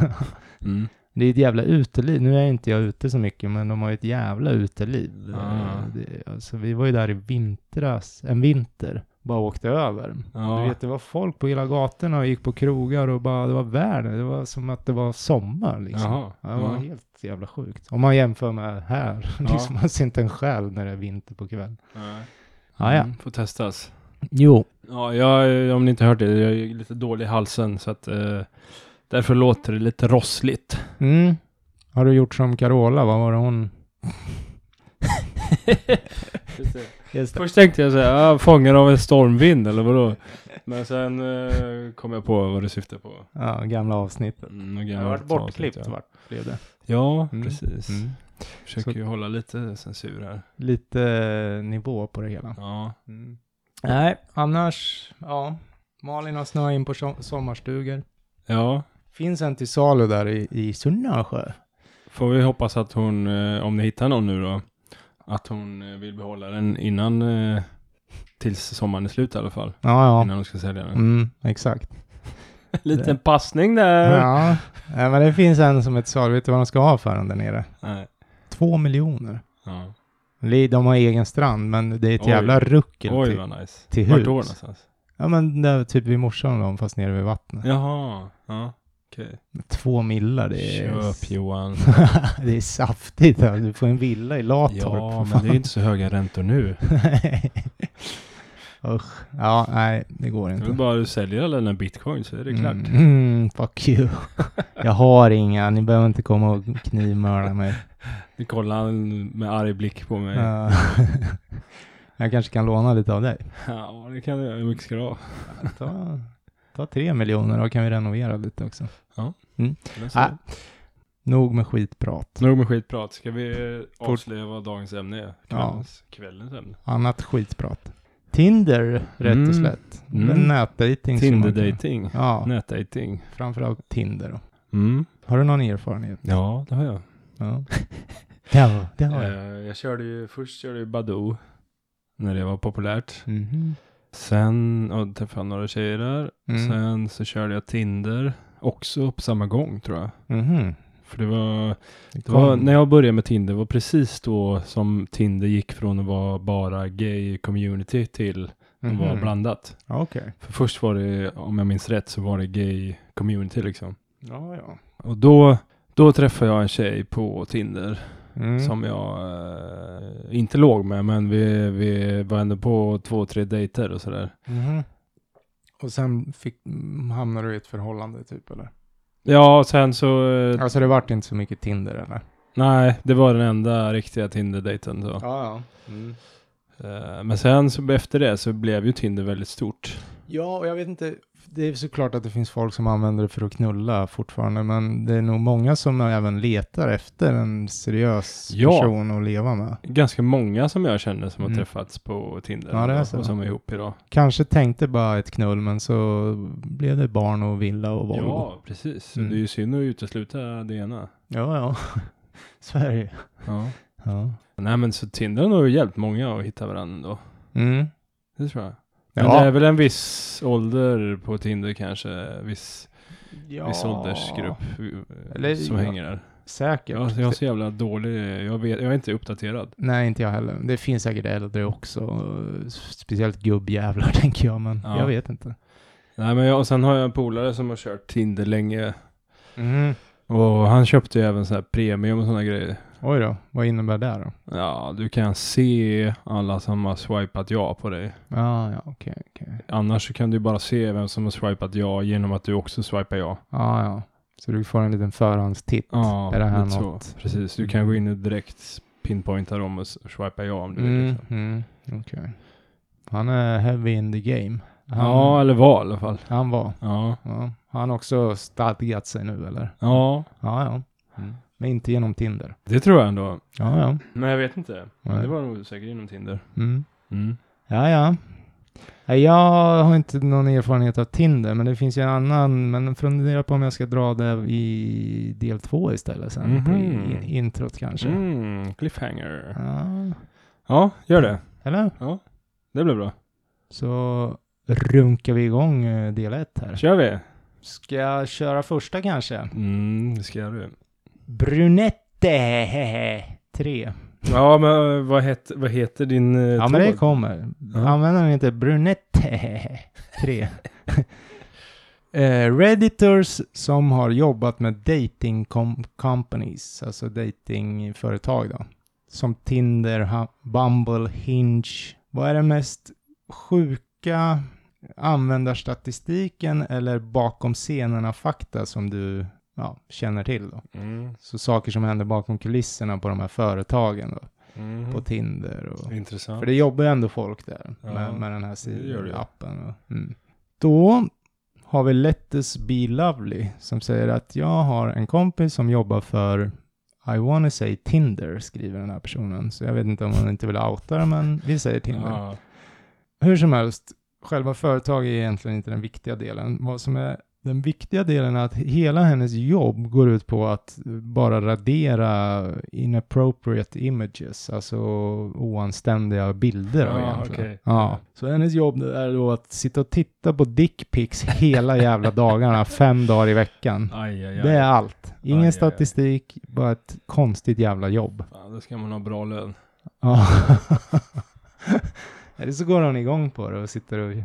B: Mm.
A: Det är ett jävla uteliv. Nu är inte jag ute så mycket, men de har ju ett jävla uteliv.
B: Ja.
A: Eh, Det, alltså, vi var ju där i vintras, en vinter, bara åkte över.
B: Ja.
A: Du vet, det var folk på hela gatorna och gick på krogar och bara, det var världen. Det var som att det var sommar liksom.
B: Jaha.
A: Ja, det var
B: Ja.
A: helt jävla sjukt. Om man jämför med här.
B: Ja.
A: liksom, man ser inte en själ när det är vinter på kvällen.
B: Nej.
A: Ja, ja.
B: Mm, får testas.
A: Jo.
B: Ja, jag, om ni inte hört det, jag är lite dålig i halsen så att eh, därför låter det lite rossligt.
A: Mm. Har du gjort som Carola? Vad var det hon? Just
B: Först tänkte jag säga, ah, fångad av en stormvind eller vadå? Men sen eh, kom jag på vad det syftar på.
A: Ja, gamla avsnittet.
B: Mm, och
A: Jag har
B: gammalt
A: varit bortklippt
B: avsnitt, ja.
A: vart blev det.
B: Ja,
A: Mm.
B: precis.
A: Mm.
B: Försöker
A: Så-
B: ju hålla lite censur här.
A: Lite eh, nivå på det hela.
B: Ja.
A: Mm. Nej, annars, ja. Malin har snöat in på som- sommarstugor.
B: ja,
A: Finns en till salu där i, i Sunnasjö.
B: får vi hoppas att hon, eh, om ni hittar någon nu då, att hon eh, vill behålla den innan, eh, tills sommaren är slut i alla fall.
A: Ja, ja.
B: Innan hon ska sälja den.
A: Mm, exakt.
B: Liten passning
A: Eh.
B: där.
A: Ja. Nej, men det finns en som är till salu. Vet du vad de ska ha för den där nere?
B: Nej.
A: Två miljoner.
B: Ja.
A: Li- De har egen strand, men det är ett
B: Oj.
A: jävla ruckel.
B: Oj
A: till.
B: vad nice.
A: till
B: Vart
A: hus.
B: då någonstans?
A: Ja, men det är typ vid morsan och dem, fast nere vid vattnet.
B: Jaha. Ja. Okej.
A: Två millar, det är...
B: Köp Johan.
A: det är saftigt. Alltså. Du får en villa i Latorp.
B: Ja,
A: för
B: men
A: fan.
B: det är inte så höga räntor nu.
A: Usch. Ja, nej, det går
B: Det
A: inte.
B: är bara du säljer alla dina bitcoins så är det klart.
A: Mm, mm, fuck you. Jag har inga, ni behöver inte komma och knivmörda mig.
B: Nu kollar han med arg blick på mig. Ja,
A: Ja. jag kanske kan låna lite av dig.
B: det kan du göra. Hur mycket ska du ha?
A: Ta, ta tre miljoner, då kan vi renovera lite också.
B: Den ser
A: Ah.
B: du.
A: Nog med skitprat.
B: Nog med skitprat. Ska vi avslöja vad dagens ämne är? Kvällens, kvällens ämne.
A: Annat skitprat. Tinder, rätt
B: Mm.
A: och slätt.
B: Mm.
A: Mm. Nätdating. som man kan-
B: Tinder-dating.
A: Ja,
B: Nätdating.
A: framförallt Tinder. Då.
B: Mm.
A: Har du någon erfarenhet?
B: Ja, det har jag.
A: Ja, ja det har jag.
B: Eh, jag körde ju, först körde jag Badoo. När det var populärt.
A: Mhm.
B: Sen ja, då träffade jag några tjejer där.
A: Mm.
B: Sen mm. så körde jag Tinder. Också på samma gång tror jag.
A: Mhm.
B: För det var, det
A: kom.
B: var när jag började med Tinder var precis då som Tinder gick från att vara bara gay community till att
A: Mhm.
B: vara blandat.
A: Okej.
B: För först var det, om jag minns rätt, så var det gay community liksom.
A: Ja, ja.
B: Och då, då träffade jag en tjej på Tinder.
A: Mm.
B: som jag eh, inte låg med, men vi, vi var ändå på två, tre dejter och sådär.
A: Mhm. Och sen fick, mm, hamnade du i ett förhållande typ eller?
B: Ja, och sen så... eh,
A: Alltså det vart inte så mycket Tinder eller?
B: Nej, det var den enda riktiga Tinder-dejten. Så.
A: ja. Mm.
B: Eh, Men sen så efter det så blev ju Tinder väldigt stort.
A: Ja, och jag vet inte. Det är såklart att det finns folk som använder det för att knulla fortfarande, men det är nog många som även letar efter en seriös
B: Ja.
A: person att leva med.
B: Ganska många som jag känner som har
A: Mm.
B: träffats på Tinder
A: Ja, det är
B: och-
A: så.
B: och som är ihop idag.
A: Kanske tänkte bara ett knull, men så blev det barn och villa och Volvo. Ja,
B: Ja, precis.
A: Mm.
B: Det är ju synd att utesluta det ena.
A: ja. ja. Sverige.
B: Ja.
A: Ja.
B: Nej, men så Tinder har nog hjälpt många att hitta varandra då.
A: Mm.
B: Det tror jag. Men
A: Ja.
B: det är väl en viss ålder på Tinder kanske, viss,
A: ja.
B: viss åldersgrupp eh,
A: Eller-
B: som
A: ja.
B: hänger där.
A: Säkert.
B: Jag, jag är så jävla dålig, jag, vet, jag är inte uppdaterad.
A: Nej, inte jag heller. Det finns säkert äldre också. Speciellt gubbjävlar, tänker jag, men
B: Ja.
A: jag vet inte.
B: Nej, men jag, och sen har jag en polare som har kört Tinder länge.
A: Mm.
B: Och han köpte ju även så här premium och sådana grejer.
A: Oj då, vad innebär det då?
B: Ja, du kan se alla som har swipat ja på dig.
A: Ah, ja, okej, okej.
B: Annars så kan du bara se vem som har swipat ja genom att du också swipar ja.
A: Ja, ja. Så du får en liten förhandstitt.
B: Ja,
A: är det här
B: lite
A: något?
B: så. Precis, du kan gå in och direkt pinpointa dem och s- swipa ja om du vill.
A: Mm,
B: Liksom.
A: mm, okej. Han är heavy in the game. Han,
B: Ja, eller var i alla fall.
A: Han var.
B: Ja.
A: Ja. Har han också stadgat sig nu eller?
B: ja,
A: Ja, ja. Mm. Men inte genom Tinder.
B: det tror jag ändå.
A: Ja, ja.
B: Men jag vet inte.
A: Nej.
B: Det var nog säkert inom Tinder.
A: Mm. Ja, ja. Nej, Jag har inte någon erfarenhet av Tinder, men det finns ju en annan. Men jag funderar på om jag ska dra det i del två istället sen. På
B: Mhm.
A: i- introt kanske.
B: Mm, cliffhanger.
A: Ja.
B: Ja, gör det.
A: Eller?
B: Det blir bra.
A: Så runkar vi igång eh, del ett här.
B: kör vi.
A: Ska jag köra första kanske?
B: Mm, det ska jag göra.
A: Brunette, hehe. Tre.
B: Ja, men eh, vad, het, vad heter din eh,
A: Ja,
B: tråd?
A: men det kommer.
B: Ja.
A: Användaren heter Brunette, hehe. Tre. Eh, Redditors som har jobbat med dating com- companies, alltså datingföretag då. Som Tinder, Ha- Bumble, Hinge. Vad är det mest sjuka användarstatistiken eller bakom scenerna fakta som du ja, känner till då?
B: Mm,
A: Så saker som händer bakom kulisserna på de här företagen då,
B: mm.
A: på Tinder och...
B: Intressant.
A: För det jobbar ju ändå folk där
B: Ja,
A: med, med den här
B: det gör det ju.
A: sidan, appen. Och, mm. Då har vi Letters Be Lovely som säger att jag har en kompis som jobbar för I wanna say Tinder, skriver den här personen. Så jag vet inte om hon inte vill outa det, men vi säger Tinder.
B: Ja.
A: Hur som helst, själva företaget är egentligen inte den viktiga delen. Vad som är den viktiga delen är att hela hennes jobb går ut på att bara radera inappropriate images, alltså oanständiga bilder. då
B: Ja,
A: egentligen.
B: okej.
A: ja. Så hennes jobb är då att sitta och titta på dickpics hela jävla dagarna, fem dagar i veckan.
B: Aj, aj, aj.
A: Det är allt. Ingen
B: Aj, aj, aj.
A: statistik, bara ett konstigt jävla jobb.
B: Fan, då ska man ha bra lön.
A: Ja. Eller så går hon igång på det och sitter och
B: Ja,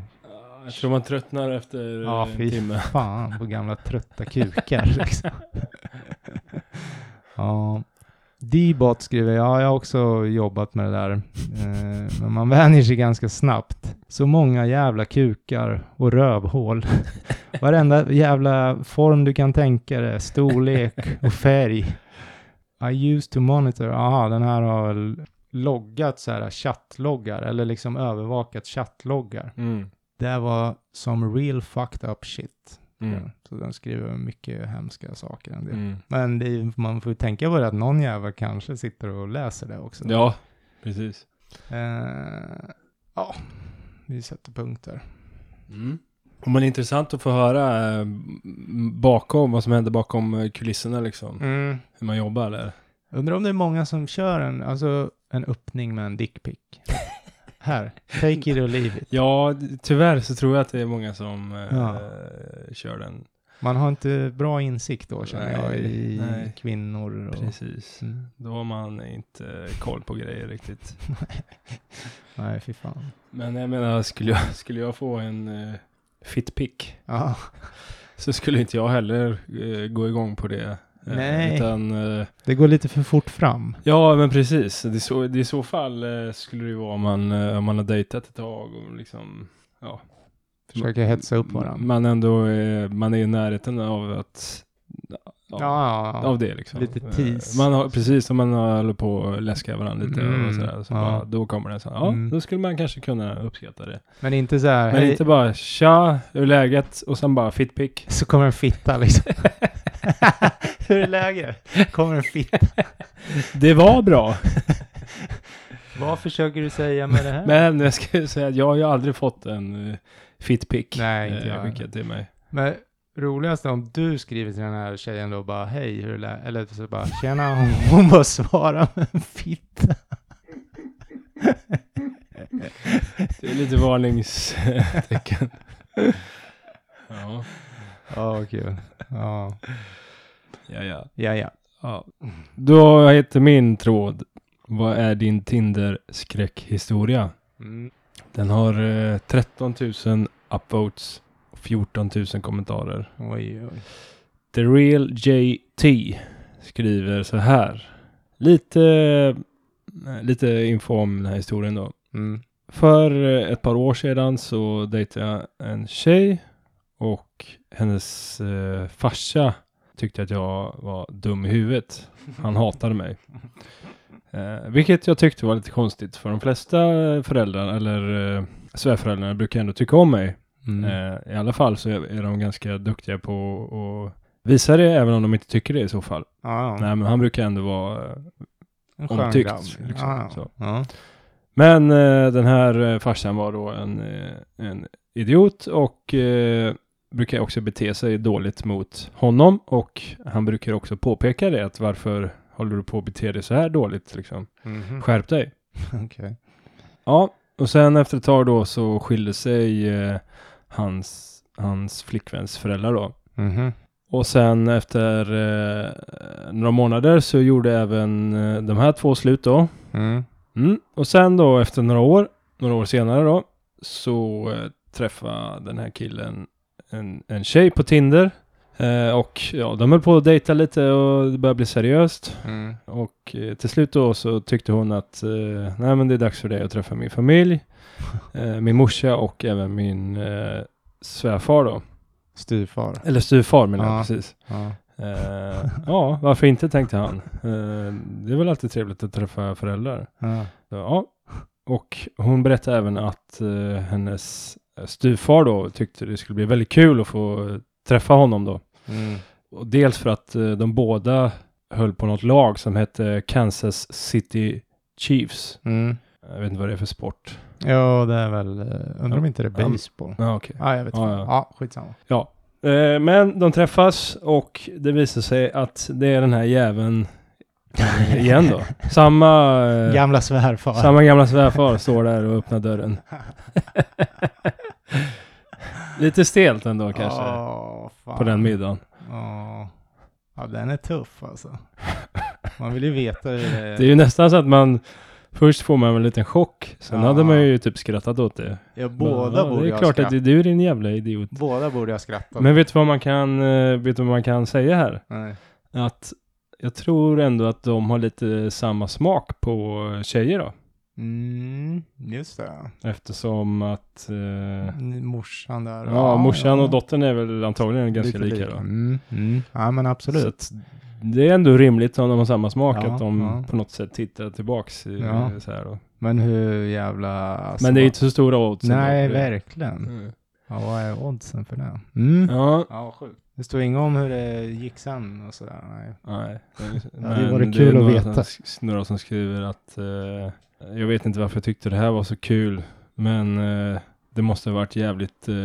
B: Jag tror man tröttnar efter eh,
A: Ja,
B: en
A: fy
B: timme.
A: fan på gamla trötta kukar. liksom. ja. D-bot skriver, ja, jag har också jobbat med det där. Eh, men man vänjer sig ganska snabbt. Så många jävla kukar och rövhål. Varenda jävla form du kan tänka dig, storlek och färg. I used to monitor, aha, den här har väl loggat så här chattloggar, eller liksom övervakat chattloggar.
B: Mm.
A: Det var som real fucked up shit.
B: Mm.
A: Så den skriver mycket hemska saker. En del.
B: Mm.
A: Men det är, ju- man får ju tänka på det att någon jävel kanske sitter och läser det också.
B: Ja, precis.
A: Eh, ja, vi sätter punkt där.
B: Mm. Men intressant att få höra eh, m- bakom, vad som händer bakom eh, kulisserna liksom.
A: Mm.
B: Hur man jobbar där.
A: Undrar om det är många som kör en, alltså, en öppning med en dickpic. Här, take it or leave it.
B: Ja, d- tyvärr så tror jag att det är många som eh,
A: Ja.
B: eh, kör den.
A: Man har inte bra insikt då känner jag
B: Nej,
A: i
B: nej.
A: kvinnor och...
B: Precis.
A: Mm.
B: Då har man inte koll på grejer riktigt.
A: Nej, fy fan.
B: Men jag menar, skulle jag, skulle jag få en uh, fitpick
A: Ja,
B: så skulle inte jag heller eh, gå igång på det. Eh,
A: Nej.
B: Utan, eh,
A: det går lite för fort fram.
B: ja, men precis. Det är så, det är så fall eh, skulle det ju vara om man, eh, om man har dejtat ett tag och liksom, ja.
A: Försöker hetsa upp varandra.
B: Man ändå är, man är i närheten av att
A: ja, ja.
B: av det liksom.
A: Lite
B: Eh,
A: tease.
B: Man har, precis som man håller på och läskar varandra lite
A: Mm,
B: och sådär. Så
A: ja.
B: bara, då kommer det så här, ja,
A: Mm.
B: då skulle man kanske kunna uppskatta det.
A: Men inte så här,
B: Men
A: hej,
B: inte bara tja, hur är läget? Och sen bara fitpick.
A: så kommer en fitta liksom. Hur är läget? Kommer en fitta.
B: Det var bra.
A: Vad försöker du säga med det här?
B: Men jag ska ju säga att jag har ju aldrig fått en uh, fitpick
A: Nej, inte jag.
B: skickad eh, till mig.
A: Men roligast är om du skriver till den här tjejen då bara hej, hur är det? Eller så bara tjena, hon, hon bara svarar med en fitta.
B: Det är lite varningstecken. ja,
A: Ja, kul. Ja,
B: ja, ja.
A: ja, ja.
B: Ja. Då heter min tråd. Vad är din Tinder-skräckhistoria?
A: Mm.
B: Den har eh, 13 000 upvotes och 14 000 kommentarer.
A: Oj, oj.
B: The Real JT skriver så här. Lite, eh, lite info om den här historien då.
A: Mm.
B: För eh, ett par år sedan så dejtade jag en tjej och hennes eh, farsa tyckte att jag var dum i huvudet. Han hatade mig. Eh, vilket jag tyckte var lite konstigt för de flesta eh, föräldrar eller eh, svärföräldrarna brukar ändå tycka om mig.
A: Mm.
B: Eh, I alla fall så är är de ganska duktiga på att visa det även om de inte tycker det i så fall.
A: Ja, ja.
B: Nej men han brukar ändå vara eh,
A: En skön
B: omtyckt,
A: grabb.
B: liksom,
A: ja, ja.
B: så.
A: Ja.
B: Men eh, den här eh, farsan var då en, eh, en idiot och eh, brukar också bete sig dåligt mot honom och han brukar också påpeka det att varför håller du på att bete dig så här dåligt liksom?
A: Mhm.
B: Skärp dig.
A: Okej.
B: Ja, och sen efter ett tag då så skilde sig eh, hans, hans flickväns föräldrar då.
A: Mhm.
B: Och sen efter eh, några månader så gjorde även eh, de här två slut då.
A: Mm.
B: Mm. Och sen då efter några år, några år senare då, så eh, träffade den här killen en, en tjej på Tinder. Eh, och ja, de höll på att dejta lite och det började bli seriöst.
A: Mm.
B: Och eh, till slut då så tyckte hon att eh, nej men det är dags för dig att träffa min familj, eh, min morsa och även min eh, svärfar då.
A: Styvfar.
B: Eller styvfar menar jag
A: Ja.
B: precis.
A: Ja.
B: Eh, ja, varför inte tänkte han. Eh, det är väl alltid trevligt att träffa föräldrar.
A: Ja.
B: Så, ja. Och hon berättade även att eh, hennes styvfar då tyckte det skulle bli väldigt kul att få eh, träffa honom då.
A: Mm.
B: Och dels för att eh, de båda höll på något lag som hette Kansas City Chiefs.
A: Mm.
B: Jag vet inte vad det är för sport.
A: Ja, det är väl, eh, undrar om inte det
B: Ja.
A: är baseball.
B: Ah, okay.
A: Ja, jag vet
B: Ja,
A: inte.
B: ja.
A: Ja, skitsamma.
B: Eh, men de träffas och det visar sig att det är den här jäveln igen då. Samma... eh,
A: Gamla svärfar.
B: Samma gamla svärfar står där och öppnar dörren. Lite stelt ändå kanske
A: Åh, fan.
B: på den middagen.
A: Ja. ja, den är tuff alltså. Man vill ju veta hur det...
B: Det är ju nästan så att man först får man en liten chock. Sen
A: Ja.
B: hade man ju typ skrattat åt det.
A: ja, båda
B: ja,
A: borde
B: Det
A: jag
B: är klart att
A: skratta.
B: det är du din jävla idiot.
A: Båda borde jag skratta.
B: Men vet du vad man kan, eh, vet du vad man kan säga här?
A: Nej.
B: Att jag tror ändå att de har lite samma smak på tjejer då.
A: Mm, just det.
B: Eftersom att eh,
A: N- Morsan där.
B: ja, morsan och dottern är väl antagligen ganska
A: Lite
B: lika då.
A: Mm, mm. Ja, men
B: Så
A: absolut.
B: att det är ändå rimligt om de har samma smak,
A: Ja,
B: att de
A: ja.
B: på något sätt tittar tillbaks. I,
A: Ja.
B: så här då.
A: Men hur jävla... alltså,
B: Men det är inte så stora odds. ändå
A: Nej,
B: för det.
A: verkligen.
B: Mm.
A: Ja, vad är oddsen för det? Mm.
B: Ja,
A: Ja, vad sjukt. Det står inget om hur det gick sen och sådär. Nej.
B: nej.
A: hade ju varit kul att veta.
B: Några som skriver att eh, jag vet inte varför jag tyckte det här var så kul, men eh, det måste ha varit jävligt eh,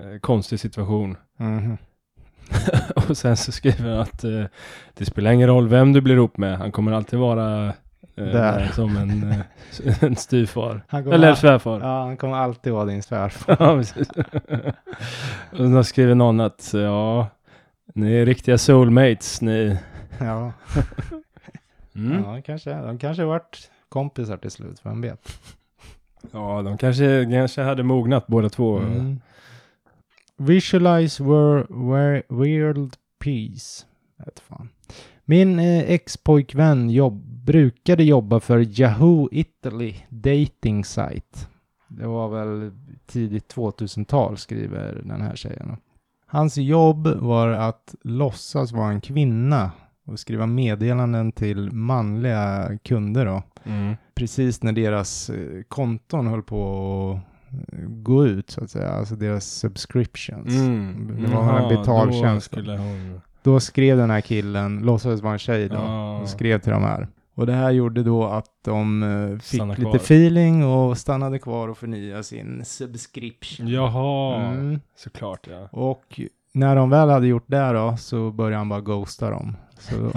B: eh, konstig situation.
A: Mhm.
B: Och sen så skriver han att eh, det spelar ingen roll vem du blir ihop med, han kommer alltid vara eh,
A: Där.
B: där som en, eh, en styvfar.
A: Han kommer
B: Eller
A: all-
B: svärfar.
A: Ja, han kommer alltid vara din svärfar.
B: Ja, precis. Och då skriver någon att ja, ni är riktiga soulmates ni.
A: ja.
B: Mm.
A: ja, kanske. De kanske varit kompisar till slut, vem vet?
B: Ja, de kanske, kanske hade mognat båda två.
A: Mm. Visualize wor- wor- world peace. Jag vet fan. Min eh, ex-pojkvän jobb, brukade jobba för Yahoo Italy dating site. Det var väl tidigt 2000-tal skriver den här tjejen. Hans jobb var att låtsas vara en kvinna och skriva meddelanden till manliga kunder då.
B: Mm.
A: Precis när deras eh, konton höll på att eh, gå ut så att säga, alltså deras subscriptions.
B: Mm.
A: Det var en
B: Jaha,
A: betaltjänst.
B: Då skulle hon...
A: Då skrev den här killen, låtsades vara en tjej då,
B: Ja.
A: och skrev till de här. Och det här gjorde då att de eh, fick
B: Stanna
A: lite
B: kvar.
A: feeling och stannade kvar och förnyade sin subscription.
B: Jaha,
A: Mm.
B: såklart ja.
A: Och när de väl hade gjort det då så började han bara ghosta dem. Så,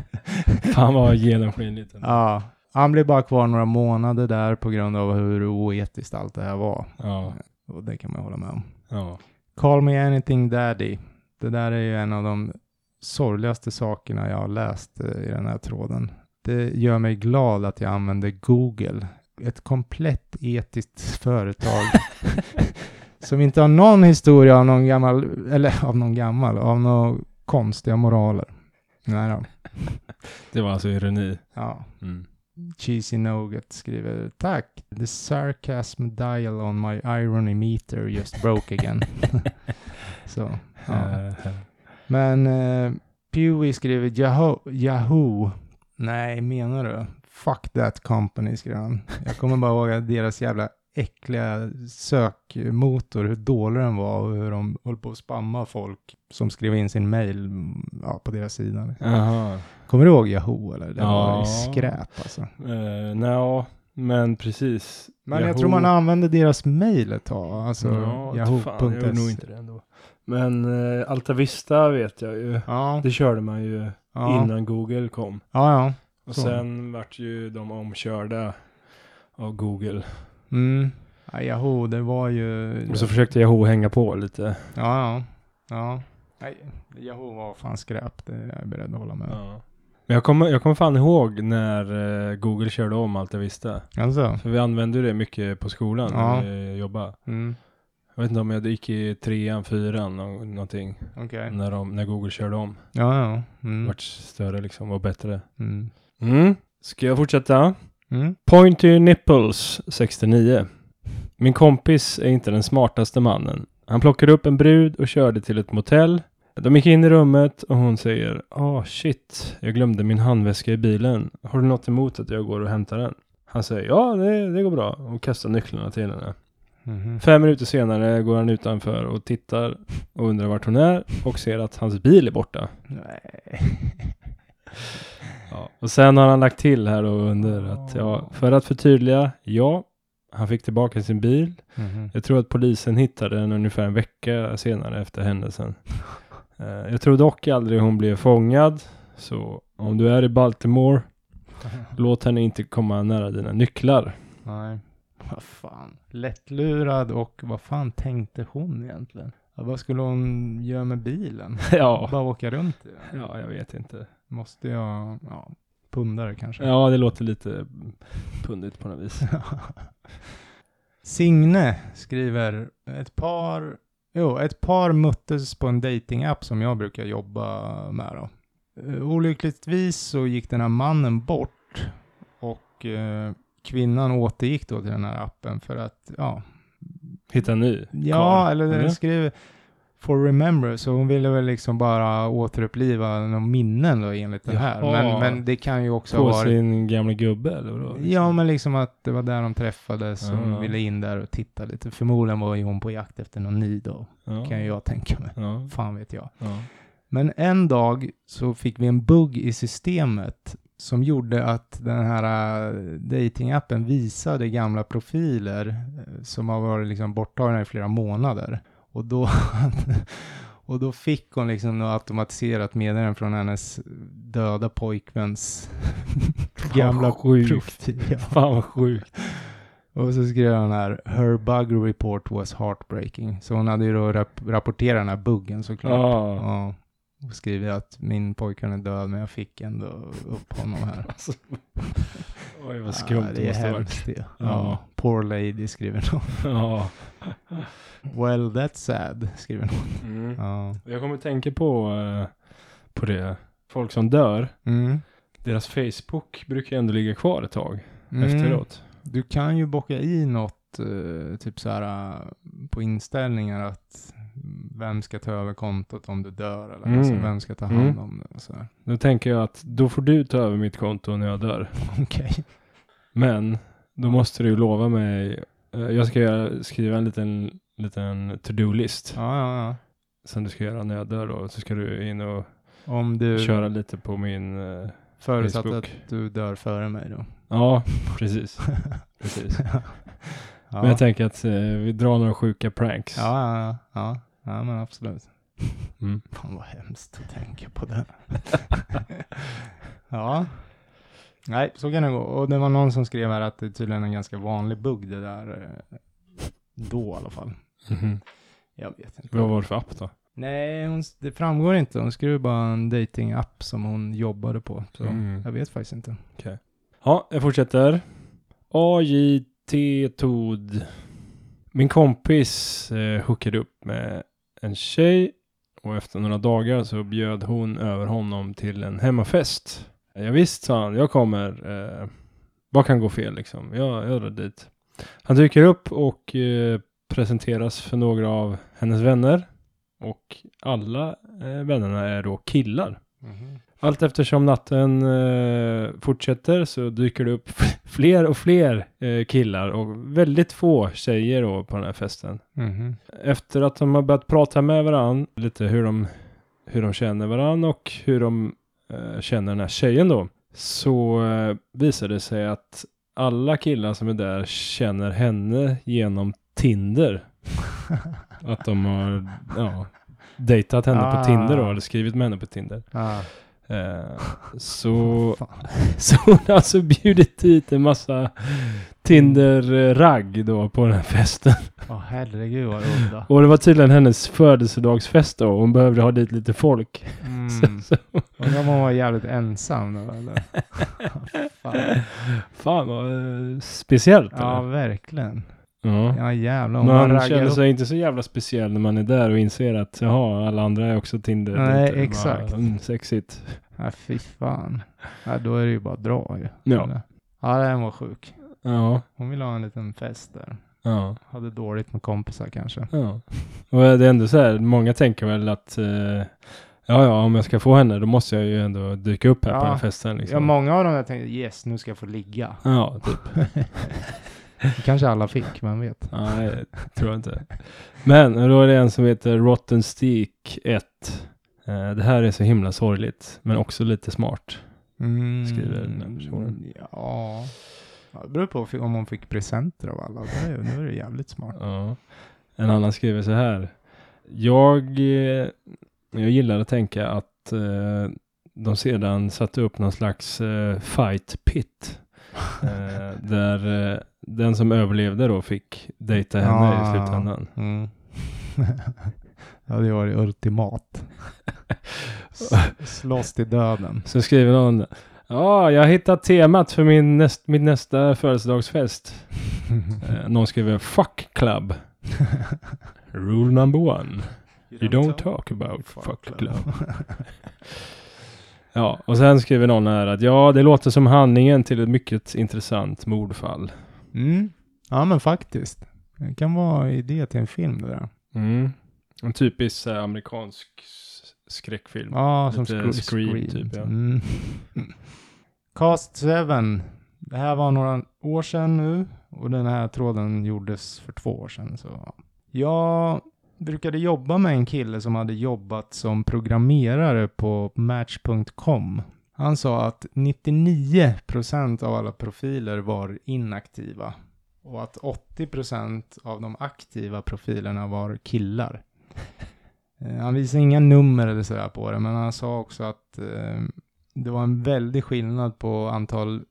B: Fan vad genomskinligt. ändå.
A: ja, han blev bara kvar några månader där på grund av hur oetiskt allt det här var.
B: Ja.
A: Och det kan man hålla med om.
B: ja.
A: Call me anything daddy. Det där är ju en av de sorgligaste sakerna jag har läst eh, i den här tråden. Det gör mig glad att jag använder Google. Ett komplett etiskt företag. som inte har någon historia av någon gammal, eller av någon gammal, av några konstiga moraler. Nej då.
B: Det var alltså ironi.
A: Ja.
B: Mm.
A: Cheesy Nougat skriver Tack, the sarcasm dial on my irony meter just broke again. Så, ja.
B: Eh, eh.
A: Men eh, Pewey skriver Yahoo, Yahoo. Nej, menar du? Fuck that company, skrev han. Jag kommer bara ihåg att deras jävla äckliga sökmotor, hur dålig den var och hur de höll på att spamma folk som skrev in sin mail mm, ja, på deras sida. liksom.
B: Jaha.
A: Kommer du ihåg Yahoo eller? Det var
B: Ja.
A: ju skräp alltså.
B: Uh, Nja, men precis.
A: Men jag tror man använde deras mail ett tag, alltså
B: Ja, fan, jag
A: yahoo.se.
B: gjorde nog inte det ändå. Men eh, Alta Vista vet jag ju.
A: Ja,
B: Det körde man ju
A: ja,
B: innan Google kom.
A: ja, ja.
B: Och
A: Så.
B: sen vart ju de omkörda av Google.
A: Mm. ja. Yahoo, det var ju...
B: Och så försökte Yahoo hänga på lite.
A: Ja, ja. ja. Nej, Yahoo var fan skräp, det är jag beredd att hålla med. Ja.
B: Ja. Men jag kommer jag kommer fan ihåg när eh, Google körde om Alta Vista.
A: Alltså?
B: För vi använde ju det mycket på skolan
A: Ja.
B: när vi jobbade.
A: Mm,
B: Jag vet inte om jag gick i trean, fyran nå- någonting.
A: okej.
B: När, de, när Google körde om.
A: Ja, ja. Mm.
B: Vart större liksom och bättre.
A: Mm.
B: Mm. Ska jag fortsätta?
A: Mm.
B: Point to your nipples 69. Min kompis är inte den smartaste mannen. Han plockade upp en brud och körde till ett motell. De gick in i rummet och hon säger Ah shit, jag glömde min handväska i bilen. Har du något emot att jag går och hämtar den? Han säger ja, det, det går bra och kastar nycklarna till henne.
A: Mhm.
B: Fem minuter senare går han utanför och tittar och undrar vart hon är och ser att hans bil är borta.
A: Nej.
B: Och sen har han lagt till här och under att ja, för att förtydliga, ja, han fick tillbaka sin bil.
A: Mhm.
B: Jag tror att polisen hittade den ungefär en vecka senare efter händelsen. Eh, Jag tror dock aldrig hon blev fångad, så om du är i Baltimore, låt henne inte komma nära dina nycklar.
A: Nej. Vad fan. Lättlurad och vad fan tänkte hon egentligen? Ja, vad skulle hon göra med bilen?
B: ja,
A: Bara åka runt i den?
B: ja, jag vet inte.
A: Måste jag, ja, pundare kanske?
B: Ja, det låter lite pundigt på något vis.
A: Signe skriver ett par, jo, ett par möttes på en datingapp som jag brukar jobba med då. Eh, Olyckligtvis så gick den här mannen bort och eh, kvinnan återgick då till den här appen för att, ja,
B: Hitta en ny.
A: ja, eller
B: eller?
A: den skriver for remember, så hon ville väl liksom bara återuppliva några minnen då enligt den här.
B: Jaha.
A: Men, men det kan ju också
B: På
A: vara
B: sin gamla gubbe eller vadå?
A: Ja, men liksom att det var där de träffades och
B: Ja.
A: hon ville in där och titta lite. Förmodligen var ju hon på jakt efter någon ny då,
B: Ja.
A: kan ju jag tänka mig.
B: Ja.
A: Fan vet jag.
B: ja.
A: Men en dag så fick vi en bugg i systemet som gjorde att den här eh, datingappen visade gamla profiler eh, som har varit liksom borttagna i flera månader. Och då, och då fick hon liksom något automatiserat meddelande från hennes döda pojkväns gamla
B: Fan, sjukt.
A: profil. Ja.
B: Fan vad sjukt.
A: Och så skrev han här, her bug report was heartbreaking. Så hon hade ju då rap- rapporterat den här buggen såklart.
B: Ja.
A: Ja. Och skrivit att min pojkvän är död men jag fick ändå upp honom här.
B: Alltså, oj vad skumt
A: ja,
B: det,
A: det
B: måste
A: är
B: ha varit.
A: hemskt det. Ja.
B: Ja.
A: Poor lady skriver någon.
B: Ja.
A: Well that's sad skriver någon.
B: Mm.
A: Ja.
B: Jag kommer tänka på, eh, på det. Folk som dör,
A: Mm.
B: deras Facebook brukar ju ändå ligga kvar ett tag
A: Mm.
B: efteråt.
A: Du kan ju bocka i något eh, typ så här eh, på inställningar att mm, vem ska ta över kontot om du dör eller
B: Mm.
A: alltså, vem ska ta hand om det och så här.
B: Då tänker jag att då får du ta över mitt konto när jag dör.
A: Okej.
B: Men då måste du lova mig. eh, Jag ska göra, skriva en liten, liten to-do-list
A: Ja, ja,
B: som du ska göra när jag dör då. Så ska du in och
A: ja. Om du
B: köra lite på min... eh,
A: förutsatt
B: Facebook.
A: att du dör före mig då.
B: Ja, precis. precis.
A: Ja.
B: Men jag tänker att eh, vi drar några sjuka pranks.
A: ja, ja, ja, ja. Ja, men absolut.
B: Mm.
A: Fan vad hemskt att tänka på det. ja. Nej, så kan det gå. Och det var någon som skrev här att det är tydligen en ganska vanlig bugg det där. eh, Då i alla fall.
B: Mhm.
A: Jag vet inte.
B: Vad var det för app då?
A: Nej, hon, det framgår inte. Hon skrev bara en dating-app som hon jobbade på. Så
B: Mm.
A: jag vet faktiskt inte.
B: Ja, jag fortsätter. AJT Todd. Min kompis eh, hookade upp med en tjej och efter några dagar så bjöd hon över honom till en hemmafest. Ja, visst, sa han, jag kommer. Eh, vad kan gå fel liksom? Jag, jag drar dit. Han dyker upp och eh, presenteras för några av hennes vänner och alla eh, vännerna är då killar. Allt eftersom natten eh, fortsätter så dyker det upp fler och fler eh, killar och väldigt få tjejer då på den här festen.
A: Mhm.
B: Efter att de har börjat prata med varandra lite hur de, hur de känner varandra och hur de eh, känner den här tjejen då så eh, visar det sig att alla killar som är där känner henne genom Tinder. Att de har ja, dejtat henne
A: Ah.
B: på Tinder då, eller skrivit med henne på Tinder.
A: Ah,
B: Eh, så,
A: fan.
B: så hon har alltså bjudit dit en massa Tinder-ragg då på den här festen.
A: Åh, herregud vad udda.
B: Och det var tydligen hennes födelsedagsfest då. Hon behövde ha dit lite folk.
A: Mm.
B: Så,
A: Undrar om hon var jävligt ensam då eller? Fan.
B: fan vad eh, speciellt.
A: Ja,
B: eller?
A: verkligen.
B: ja.
A: Ja, jävlar. Om man
B: Man
A: raggar
B: känner
A: upp.
B: sig inte så jävla speciell när man är där och inser att jaha, alla andra är också Tinder.
A: Nej,
B: Bara,
A: exakt.
B: mm, sexigt.
A: Ja, fy fan. Ja, då är det ju bara att dra ju.
B: Ja.
A: Eller? Ja, den var sjuk.
B: Ja.
A: Hon ville ha en liten fest där.
B: Ja.
A: Hade dåligt med kompisar kanske.
B: Ja. Och det är ändå så här, många tänker väl att eh, ja, ja, om jag ska få henne då måste jag ju ändå dyka upp här
A: Ja.
B: på den här festen. Liksom.
A: Ja, många av dem jag tänkte yes, nu ska jag få ligga.
B: ja, typ.
A: Kanske alla fick, vem vet.
B: Nej, det tror jag inte. Men och då är det en som heter Rotten Steak 1. Eh, det här är så himla sorgligt, men också lite smart.
A: Mm.
B: Skriver den här personen.
A: Ja. ja. Det beror på fi- om hon fick presenter av alla. Det är, nu är det jävligt smart.
B: Ja. En annan skriver så här. Jag, eh, jag gillar att tänka att eh, de sedan satte upp någon slags eh, fight pit. Eh, där eh, den som överlevde då fick dejta henne
A: Ah.
B: i slutändan.
A: Mm. ja, det var det ultimat. S- Slåss till döden.
B: Så skriver någon. Ja, jag har hittat temat för min näst, mitt nästa födelsedagsfest. Eh, någon skriver fuck club. Rule number one. You don't talk about fuck club. Ja, och sen skriver någon här att ja, det låter som handlingen till ett mycket intressant mordfall.
A: Mm. Ja, men faktiskt. Det kan vara idé till en film det där.
B: Mm. En typisk så här, amerikansk s- skräckfilm.
A: Ja, som
B: Lite
A: Scream.
B: Scream, typ, ja.
A: Mm. Cast 7. Det här var några år sedan nu och den här tråden gjordes för två år sedan. Så. ja. Jag brukade jobba med en kille som hade jobbat som programmerare på Match.com. Han sa att 99% av alla profiler var inaktiva och att 80% av de aktiva profilerna var killar. Eh, Han visade inga nummer eller sådär på det, men han sa också att eh, det var en väldig skillnad på antal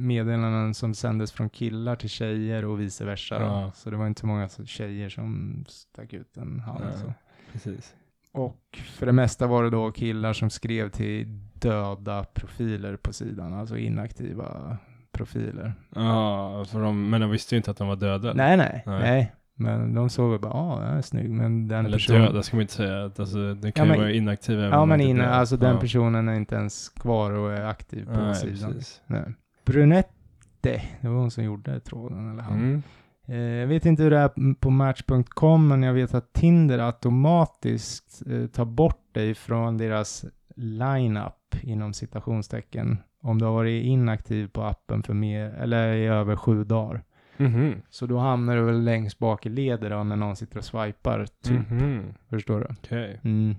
A: meddelanden som sändes från killar till tjejer och vice versa. då.
B: Ja.
A: Så det var inte så många så- tjejer som stack ut en hand.
B: Nej.
A: Så.
B: Precis.
A: Och för det mesta var det då killar som skrev till döda profiler på sidan, alltså inaktiva profiler.
B: Ja, för de, men de visste ju inte att de var döda.
A: Nej, nej,
B: Nej.
A: nej. Men de såg väl bara, "Ah, ja, den är snygg, men den
B: Eller
A: personen...
B: döda ska man inte säga. att, Alltså, det kan
A: Ja,
B: ju
A: men-
B: vara inaktiv. även
A: Ja,
B: om
A: men
B: det inte
A: innan,
B: dör.
A: alltså den
B: Ja.
A: personen är inte ens kvar och är aktiv på
B: Nej,
A: sidan.
B: precis.
A: Nej. Brunette, det var hon som gjorde tråden, eller han.
B: Mm.
A: Eh, Jag vet inte hur det är på Match.com, men jag vet att Tinder automatiskt eh, tar bort dig från deras lineup inom citationstecken om du har varit inaktiv på appen för mer eller i över sju dagar.
B: Mhm.
A: Så då hamnar du väl längst bak i ledet då när någon sitter och swipar, typ.
B: Mhm.
A: Förstår du?
B: Okej.
A: Mm.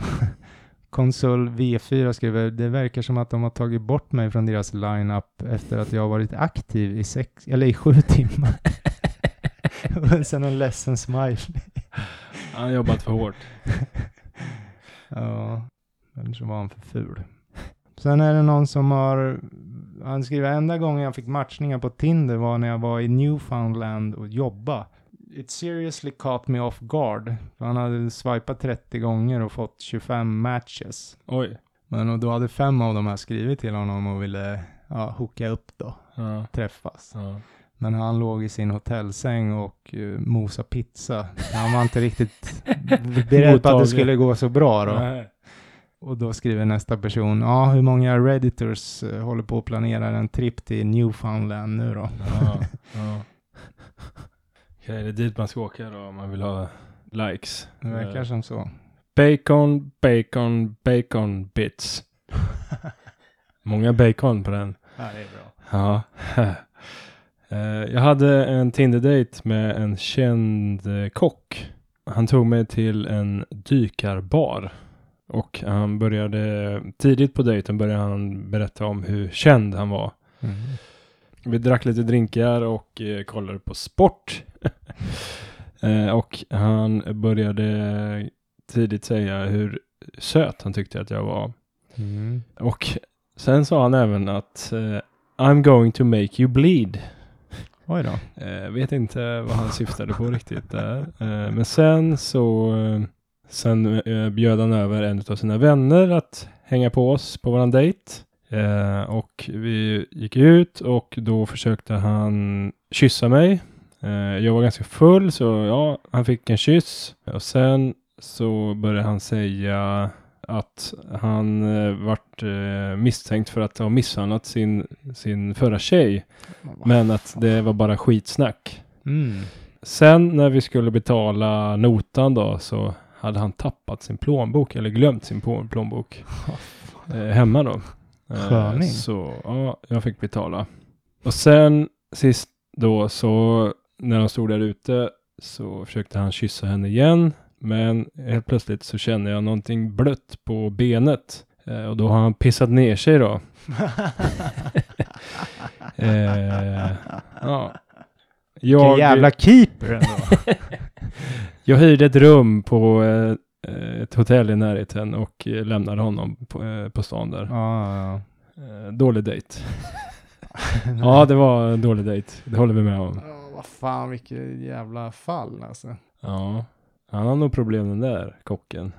A: Konsul V4 skriver, det verkar som att de har tagit bort mig från deras lineup efter att jag har varit aktiv i, sex, eller i sju timmar. Och sen en ledsen smile.
B: Han har jobbat för hårt.
A: Ja, eller så var han för ful. Sen är det någon som har, han skriver, enda gången jag fick matchningar på Tinder var när jag var i Newfoundland och jobba. It seriously caught me off guard. För han hade swipat 30 gånger och fått 25 matches.
B: Oj.
A: Men och då hade fem av dem här skrivit till honom och ville ja, hooka upp då,
B: Ja.
A: träffas.
B: Ja.
A: Men han låg i sin hotellsäng och uh, mosa pizza. Han var inte riktigt beredd på att det
B: Mottaglig.
A: skulle gå så bra då.
B: Nej.
A: Och då skriver nästa person, ja hur många redditors eh, håller på att planera en tripp till Newfoundland nu då?
B: Ja, ja. Okej, det är dit man ska åka då om man vill ha likes.
A: Det verkar
B: Eh,
A: som så.
B: Bacon, bacon, bacon bits. Många bacon på den.
A: Ja, det är bra.
B: Ja. Eh, Jag hade en Tinder-date med en känd eh, kock. Han tog mig till en dykarbar. Och han började, tidigt på dejten började han berätta om hur känd han var.
A: Mm.
B: Vi drack lite drinkar och eh, kollade på sport. eh, och han började tidigt säga hur söt han tyckte att jag var.
A: Mm.
B: Och sen sa han även att eh, I'm going to make you bleed.
A: Oj då.
B: Eh, vet inte vad han syftade på riktigt där. Eh, men sen så eh, sen, eh, bjöd han över en av sina vänner att hänga på oss på våran dejt. Eh, och vi gick ut och då försökte han kyssa mig. Eh, jag var ganska full så ja, han fick en kyss. Och sen så började han säga att han eh, vart eh, misstänkt för att ha misshandlat sin, sin förra tjej. Men att det var bara skitsnack.
A: Mm.
B: Sen när vi skulle betala notan då så hade han tappat sin plånbok eller glömt sin plå- plånbok eh, hemma då. Eh,
A: Sköning.
B: Så ja, jag fick betala. Och sen sist då så när de stod där ute så försökte han kyssa henne igen. Men helt plötsligt så kände jag någonting blött på benet. Eh, och då har han pissat ner sig då. Eh, ja.
A: Vilken
B: Jag,
A: jävla keeper ändå.
B: jag hyrde ett rum på eh, ett hotell i närheten och eh, lämnade honom på, eh, på stan där.
A: ja, ja.
B: Eh, dålig dejt. ja, det var en dålig dejt. Det håller vi med om.
A: Ja, vad fan vilket jävla fall alltså.
B: Ja. Han har nog problem den där kocken,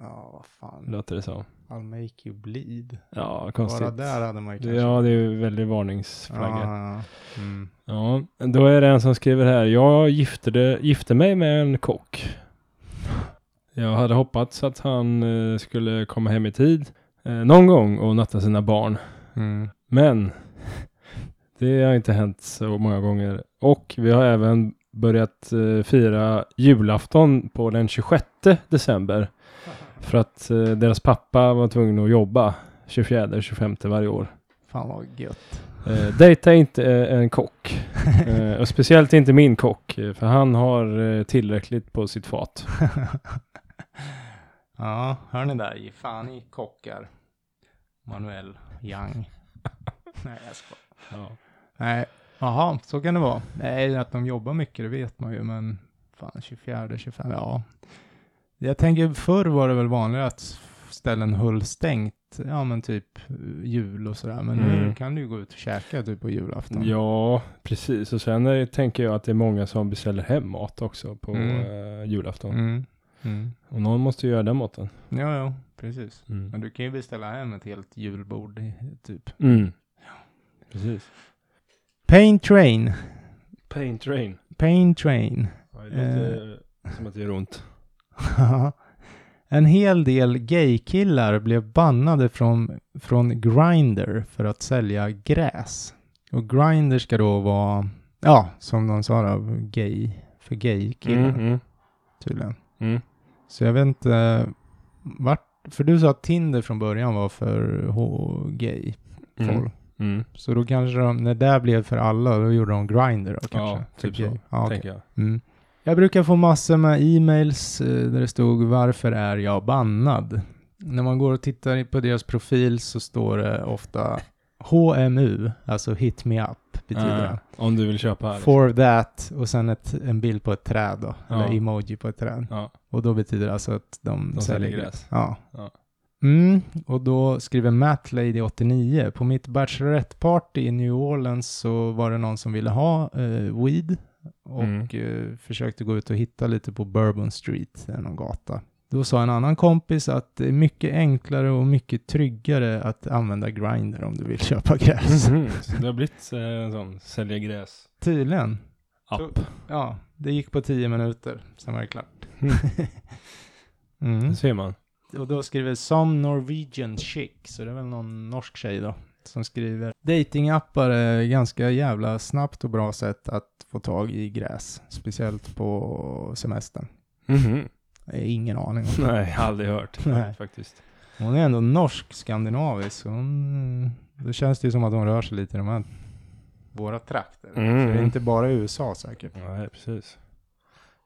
A: Ja, vad fan.
B: låter det som.
A: I'll make you bleed.
B: Ja, konstigt.
A: Bara där hade man ju
B: Det-
A: kanske.
B: Ja, det är ju väldigt varningsflagga.
A: ja, ja. Mm.
B: Ja, då är det en som skriver här. Jag giftade, gifte mig med en kock. Jag hade hoppats att han eh, skulle komma hem i tid eh, någon gång och natta sina barn.
A: Mm.
B: Men det har inte hänt så många gånger. Och vi har även börjat eh, fira julafton på den 26 december. För att eh, deras pappa var tvungen att jobba 24-25 varje år.
A: Fan vad gött.
B: Eh, dejta inte eh, en kock. Eh, och speciellt inte min kock. eh, För han har eh, tillräckligt på sitt fat.
A: ja, hör ni där? Ge fan i kockar. Manuel Young. Nej, jag skojar. Nej, jaha, så kan det vara. Nej, att de jobbar mycket, det vet man ju, men fan 24, 25, ja. Jag tänker förr var det väl vanligare att ställen höll stängt, ja men typ eh, jul och sådär, men nu
B: Mm.
A: kan du ju gå ut och käka typ på julafton.
B: Ja, precis. Och sen eh, tänker jag att det är många som beställer hem mat också på
A: Mm.
B: eh, julafton.
A: Mm. Mm.
B: Och någon måste ju göra den maten.
A: Ja, ja, precis. Men
B: Mm.
A: du kan ju beställa hem ett helt julbord i- typ.
B: Mm. Precis.
A: Pain Train.
B: Pain train.
A: Pain Train.
B: Ja, det
A: Eh.
B: låter som att det gör ont.
A: en hel del gaykillar blev bannade från, från Grindr för att sälja gräs. Och Grindr ska då vara Ja, som de sa då, gay. För gay-killar
B: Mm, mm,
A: tydligen.
B: mm.
A: Så jag vet inte vart... För du sa att Tinder från början var för h- gay folk.
B: Mm. Mm.
A: Så då kanske de, när det blev för alla, då gjorde de Grindr då kanske?
B: Ja,
A: För
B: typ så.
A: gay. Ja, okej.
B: Tänker jag.
A: Mm. Jag brukar få massor med e-mails eh, där det stod “Varför är jag bannad?” När man går och tittar på deras profil så står det ofta HMU, alltså “Hit me up” betyder
B: Ah,
A: det.
B: om du vill köpa här. liksom.
A: For that och sen ett, en bild på ett träd då,
B: Ja.
A: eller emoji på ett träd.
B: Ja.
A: Och då betyder det alltså att de,
B: De säljer gräs.
A: Ja.
B: Ja.
A: Mm, och då skriver Matlady89, på mitt bachelorette-party i New Orleans så var det någon som ville ha eh, weed och
B: Mm.
A: eh, försökte gå ut och hitta lite på Bourbon Street, det är någon gata. Då sa en annan kompis att det är mycket enklare och mycket tryggare att använda Grindr om du vill köpa gräs.
B: Mhm, Så det har blivit eh, en sån sälja gräs
A: Tydligen.
B: app.
A: Ja, det gick på tio minuter, sen var det klart. Mm.
B: Det ser man.
A: Och då skriver Some Norwegian Chick, så det är väl någon norsk tjej då, som skriver Datingappar är ganska jävla snabbt och bra sätt att få tag i gräs, speciellt på semestern.
B: Mhm.
A: Jag har ingen aning om det.
B: Nej, aldrig hört
A: Nej.
B: faktiskt.
A: Hon är ändå norsk, skandinavisk, så hon, då känns det ju som att hon rör sig lite i de här våra trakter.
B: Mm.
A: Så det är inte bara i USA säkert.
B: Nej, precis.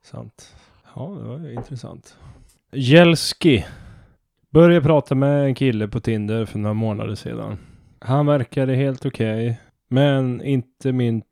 B: Sant. Ja, det var ju intressant. Jelski. Började prata med en kille på Tinder för några månader sedan. Han verkade helt okej, men inte min,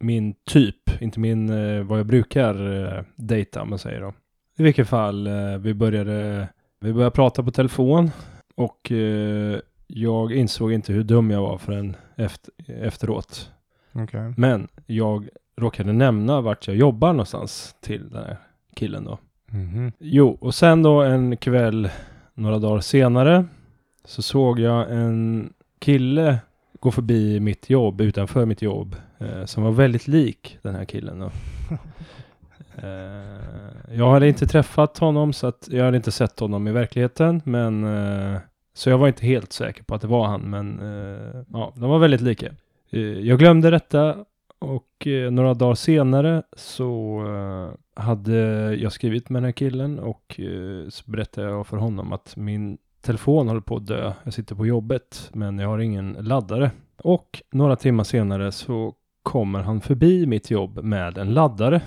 B: min typ. Inte min, eh, vad jag brukar eh, dejta, om man säger då. I vilket fall, eh, vi började, vi började prata på telefon och eh, jag insåg inte hur dum jag var förrän efter, efteråt. Mm.
A: Okej.
B: Men jag råkade nämna vart jag jobbar någonstans till den här killen då.
A: Mhm.
B: Jo, och sen då en kväll några dagar senare så såg jag en kille gå förbi mitt jobb, utanför mitt jobb, eh, som var väldigt lik den här killen då. Eh, jag hade inte träffat honom så att jag hade inte sett honom i verkligheten, men eh, så jag var inte helt säker på att det var han, men eh, ja, de var väldigt lika. Eh, jag glömde detta och eh, några dagar senare så eh, hade jag skrivit med den här killen och eh, så berättade jag för honom att min telefon håller på att dö. Jag sitter på jobbet men jag har ingen laddare. Och några timmar senare så kommer han förbi mitt jobb med en laddare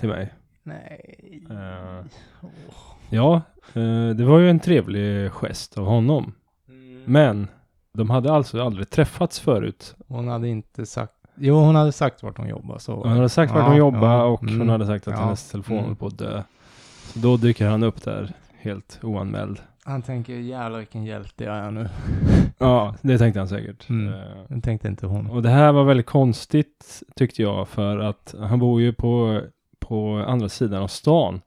B: till mig.
A: Nej.
B: Eh.
A: Åh.
B: Ja, eh, det var ju en trevlig gest av honom. Men de hade alltså aldrig träffats förut.
A: Hon hade inte sagt... Jo, hon hade sagt vart hon jobbar. Så var
B: Hon hade sagt vart
A: Ja,
B: hon jobbade
A: ja,
B: och
A: mm,
B: hon hade sagt att
A: ja,
B: hennes telefon
A: mm.
B: höll på att dö. Så då dyker han upp där, helt oanmäld.
A: Han tänker jävlar vilken hjälte jag är nu.
B: Ja, det tänkte han säkert.
A: Mm.
B: Eh,
A: Det tänkte inte hon.
B: Och det här var väldigt konstigt tyckte jag för att han bor ju på, på andra sidan av stan.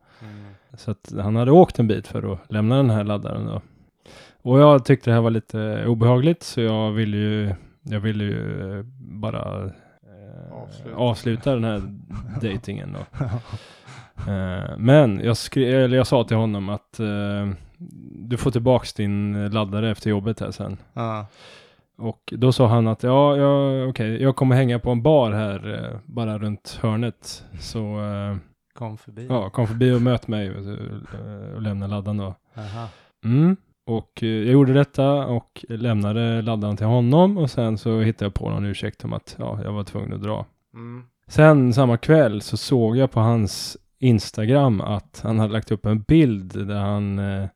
B: Så att han hade åkt en bit för att lämna den här laddaren då. Och jag tyckte det här var lite obehagligt så jag ville ju, jag ville ju eh, bara eh,
A: Avsluta.
B: avsluta den här dejtingen då. Eh, men jag, skrev, eller jag sa till honom att eh, du får tillbaks din laddare efter jobbet här sen.
A: Ja.
B: Och då sa han att ja, ja okej, jag kommer hänga på en bar här eh, bara runt hörnet. Så eh,
A: Kom förbi.
B: ja, kom förbi och möt mig och, eh, och lämna laddan då.
A: Aha.
B: Mm. Och eh, jag gjorde detta och lämnade laddan till honom och sen så hittade jag på någon ursäkt om att ja, jag var tvungen att dra.
A: Mm.
B: Sen samma kväll så såg jag på hans Instagram att han hade lagt upp en bild där han, eh,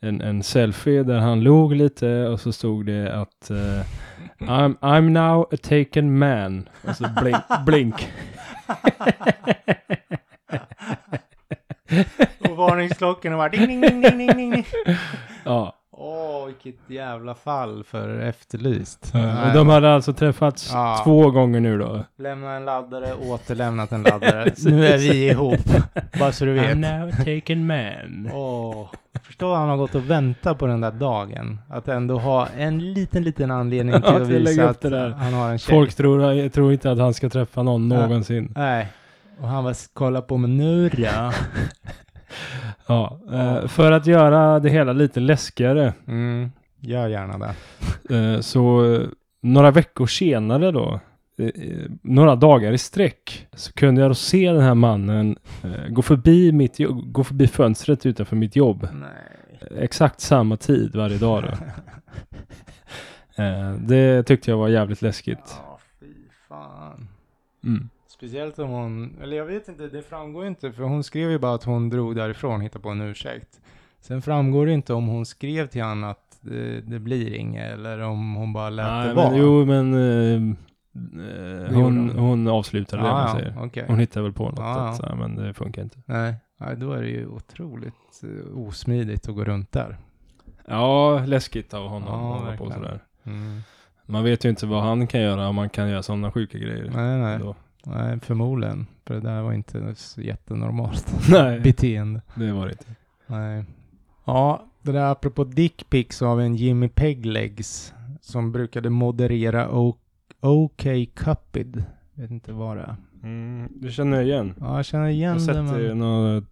B: en, en selfie där han log lite och så stod det att eh, I'm, I'm now a taken man. Och så blink. blink.
A: Och varningsklockorna var ding, ding, ding, ding, ding, ding.
B: ja,
A: Åh, vilket jävla fall för efterlyst.
B: och de hade alltså träffats
A: Ja.
B: två gånger nu då.
A: Lämna en laddare, återlämnat en laddare. nu är vi ihop, bara så du vet.
B: now a taken man.
A: Åh, förstår han har gått och väntat på den där dagen. Att ändå ha en liten, liten anledning till
B: Ja,
A: att
B: till att lägga
A: visa
B: upp
A: att
B: det där.
A: han har en tjej.
B: Folk tror, jag tror inte att han ska träffa någon
A: Ja.
B: någonsin.
A: Nej. Och han bara, kolla på mig nu då.
B: Ja, eh, för att göra det hela lite läskigare
A: Mm, gör gärna det.
B: Eh, Så eh, några veckor senare då eh, några dagar i sträck så kunde jag då se den här mannen eh, gå, förbi mitt, jo- gå förbi fönstret utanför mitt jobb. eh,
A: Nej.
B: Exakt samma tid varje dag då. Eh, det tyckte jag var jävligt läskigt.
A: Ja, fy fan.
B: Mm.
A: Speciellt om hon, eller jag vet inte, det framgår ju inte, för hon skrev ju bara att hon drog därifrån och hittade på en ursäkt. Sen framgår det inte om hon skrev till han att det, det blir inget, eller om hon bara lät
B: Nej,
A: det vara.
B: men, jo, men eh, eh,
A: gjorde
B: hon,
A: hon.
B: hon avslutade det, om man
A: ah,
B: säger.
A: ja, okej.
B: Hon hittade väl på något,
A: Ja, ja.
B: att, så här, men det funkar inte.
A: Nej, nej, då är det ju otroligt eh, osmidigt att gå runt där.
B: Ja, läskigt av honom
A: Ja,
B: att hålla på
A: verkligen.
B: sådär.
A: Mm.
B: Man vet ju inte vad han kan göra om man kan göra sådana sjuka grejer.
A: Nej, nej,
B: Då.
A: nej, förmodligen. För det där var inte så jättenormalt
B: nej
A: beteende.
B: det var det inte.
A: Nej. Ja, det där apropå dickpics av en Jimmy Peglegs som brukade moderera O- OK Cupid. Vet inte vad det är.
B: Mm, det känner jag igen.
A: Ja, jag eh, känner
B: Jag har
A: igen det.
B: sett det i
A: Men...
B: några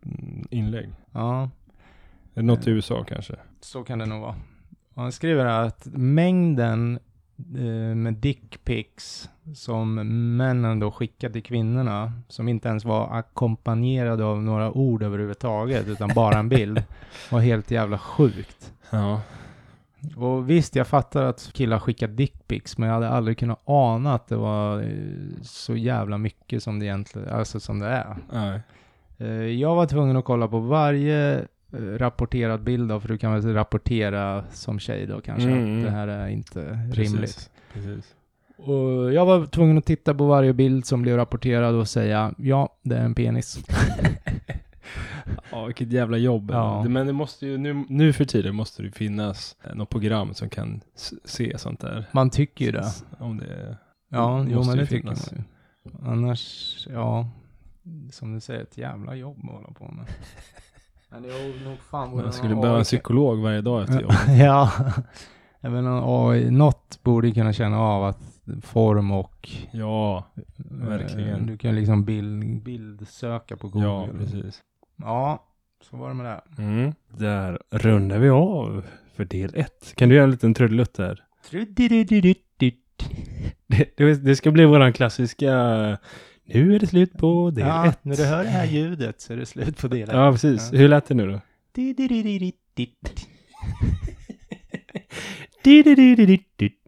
B: inlägg.
A: Ja,
B: Är det Något i USA kanske.
A: så kan det nog vara. Och han skriver här att mängden eh, med dickpics som männen då skickade till kvinnorna, som inte ens var ackompanjerade av några ord överhuvudtaget, utan bara en bild, var helt jävla sjukt.
B: Ja.
A: Och visst, jag fattar att killar skickar dickpics, men jag hade aldrig kunnat ana att det var eh, så jävla mycket som det egentligen, alltså som det är.
B: Nej.
A: Eh, Jag var tvungen att kolla på varje eh, rapporterad bild då, för du kan väl rapportera som tjej då kanske,
B: Mm,
A: att det
B: mm.
A: här är inte
B: Precis.
A: rimligt.
B: Precis.
A: Och jag var tvungen att titta på varje bild som blev rapporterad och säga, ja, det är en penis.
B: Ja, vilket jävla jobb.
A: Ja.
B: Det- Men det måste ju, nu, nu för tiden måste det ju finnas eh, något program som kan s- se sånt där.
A: Man tycker ju det.
B: Om det
A: Ja,
B: Det
A: jo
B: måste
A: men
B: ju
A: det tycker man
B: finnas.
A: ju. Annars, ja, som du säger, ett jävla jobb att hålla på med. Men det är nog fan
B: man skulle behöva en psykolog varje dag efter jobbet.
A: Ja, jag menar AI, något borde ju kunna känna av att form och...
B: Ja, Verkligen.
A: eh, Du kan liksom bild, bild söka på Google.
B: ja precis.
A: Ja, så var det med det.
B: Mm. Där rundar vi av för del ett. Kan du göra en liten trudelutt där? Det, det, det ska bli våran klassiska Nu är det slut på del
A: Ja,
B: ett.
A: när du hör det här ljudet så är det slut på delen.
B: Ja, precis.
A: Ja.
B: Hur lät det nu då?
A: Det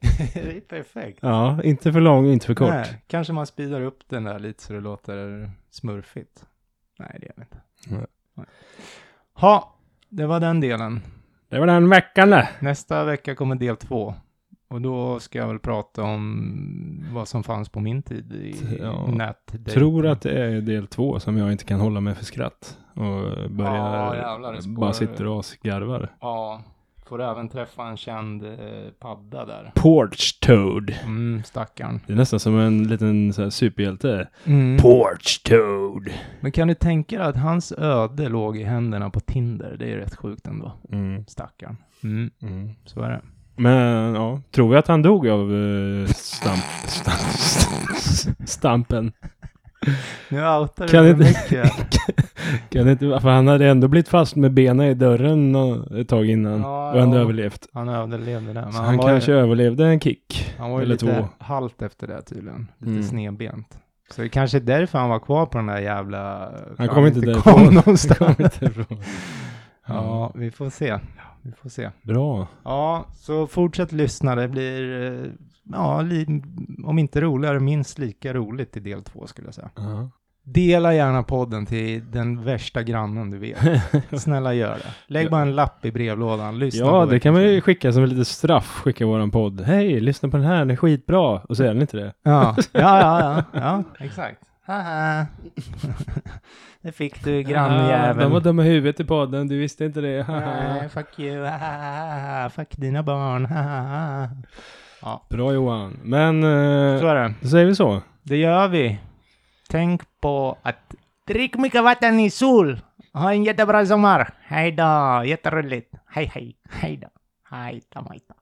A: är perfekt.
B: Ja, inte för lång, inte för kort.
A: Nej, kanske man speedar upp den där lite så det låter smurfigt. Nej, det gör vi inte.
B: Nej.
A: Nej. Ha, det var den delen.
B: Det var den veckan det.
A: Nästa vecka kommer del två. Och då ska jag väl prata om vad som fanns på min tid i
B: Ja.
A: nät.
B: Tror att det är del två som jag inte kan hålla mig för skratt. Och börjar,
A: Ja, jävlar, det spårar
B: bara
A: ur.
B: sitter och asgarvar.
A: Ja, får även träffa en känd eh, padda där.
B: Porch Toad.
A: Mm, stackarn.
B: Det är nästan som en liten så här, superhjälte.
A: Mm.
B: Porch Toad.
A: Men kan du tänka dig att hans öde låg i händerna på Tinder? Det är rätt sjukt ändå.
B: Mm,
A: Stackarn. Mm,
B: mm.
A: så är det.
B: Men ja, tror vi att han dog av eh, stamp, stamp, stamp, stampen?
A: Nu outar du
B: Kan
A: för
B: inte-
A: mycket.
B: Kan det inte, för han hade ändå blivit fast med benen i dörren nå- ett tag innan
A: Ja,
B: och ändå
A: ja.
B: överlevt.
A: Han överlevde det. Men
B: Så
A: han,
B: han
A: var
B: kanske
A: ju,
B: överlevde en kick.
A: han var ju
B: eller
A: lite
B: två.
A: halt efter det tydligen. Lite
B: Mm.
A: snedbent. Så det kanske är därför han var kvar på den där jävla... för
B: Han kom inte därifrån.
A: Kom någonstans.
B: Kommer inte ifrån. Ja,
A: Ja, vi får se. Vi får se.
B: bra.
A: Ja, så fortsätt lyssna. Det blir, eh, ja, li- om inte roligare, minst lika roligt i del två skulle jag säga.
B: Ja.
A: Dela gärna podden till den värsta grannen du vet. Snälla gör det. Lägg bara en lapp i brevlådan. Lyssna
B: Ja,
A: på
B: det kan man ju
A: veckans-
B: skicka som ett litet straff, skicka våran podd. Hej, lyssna på den här, den är skitbra. Och så är den inte det.
A: Ja, ja, ja, ja, ja exakt. Haha. Det fick du
B: Ah, De var
A: grannjäveln.
B: dumma i huvudet i podden, du visste inte det.
A: Nej, fuck you. Haha. Fuck dina barn. Haha.
B: Bra Johan. Men eh,
A: Så är det.
B: då säger vi så.
A: Det gör vi. Tänk på att drick mycket vatten i sol. Ha en jättebra sommar. Hej då. Jätteroligt. Hej, hej. Hej då. Hej då. Hej då.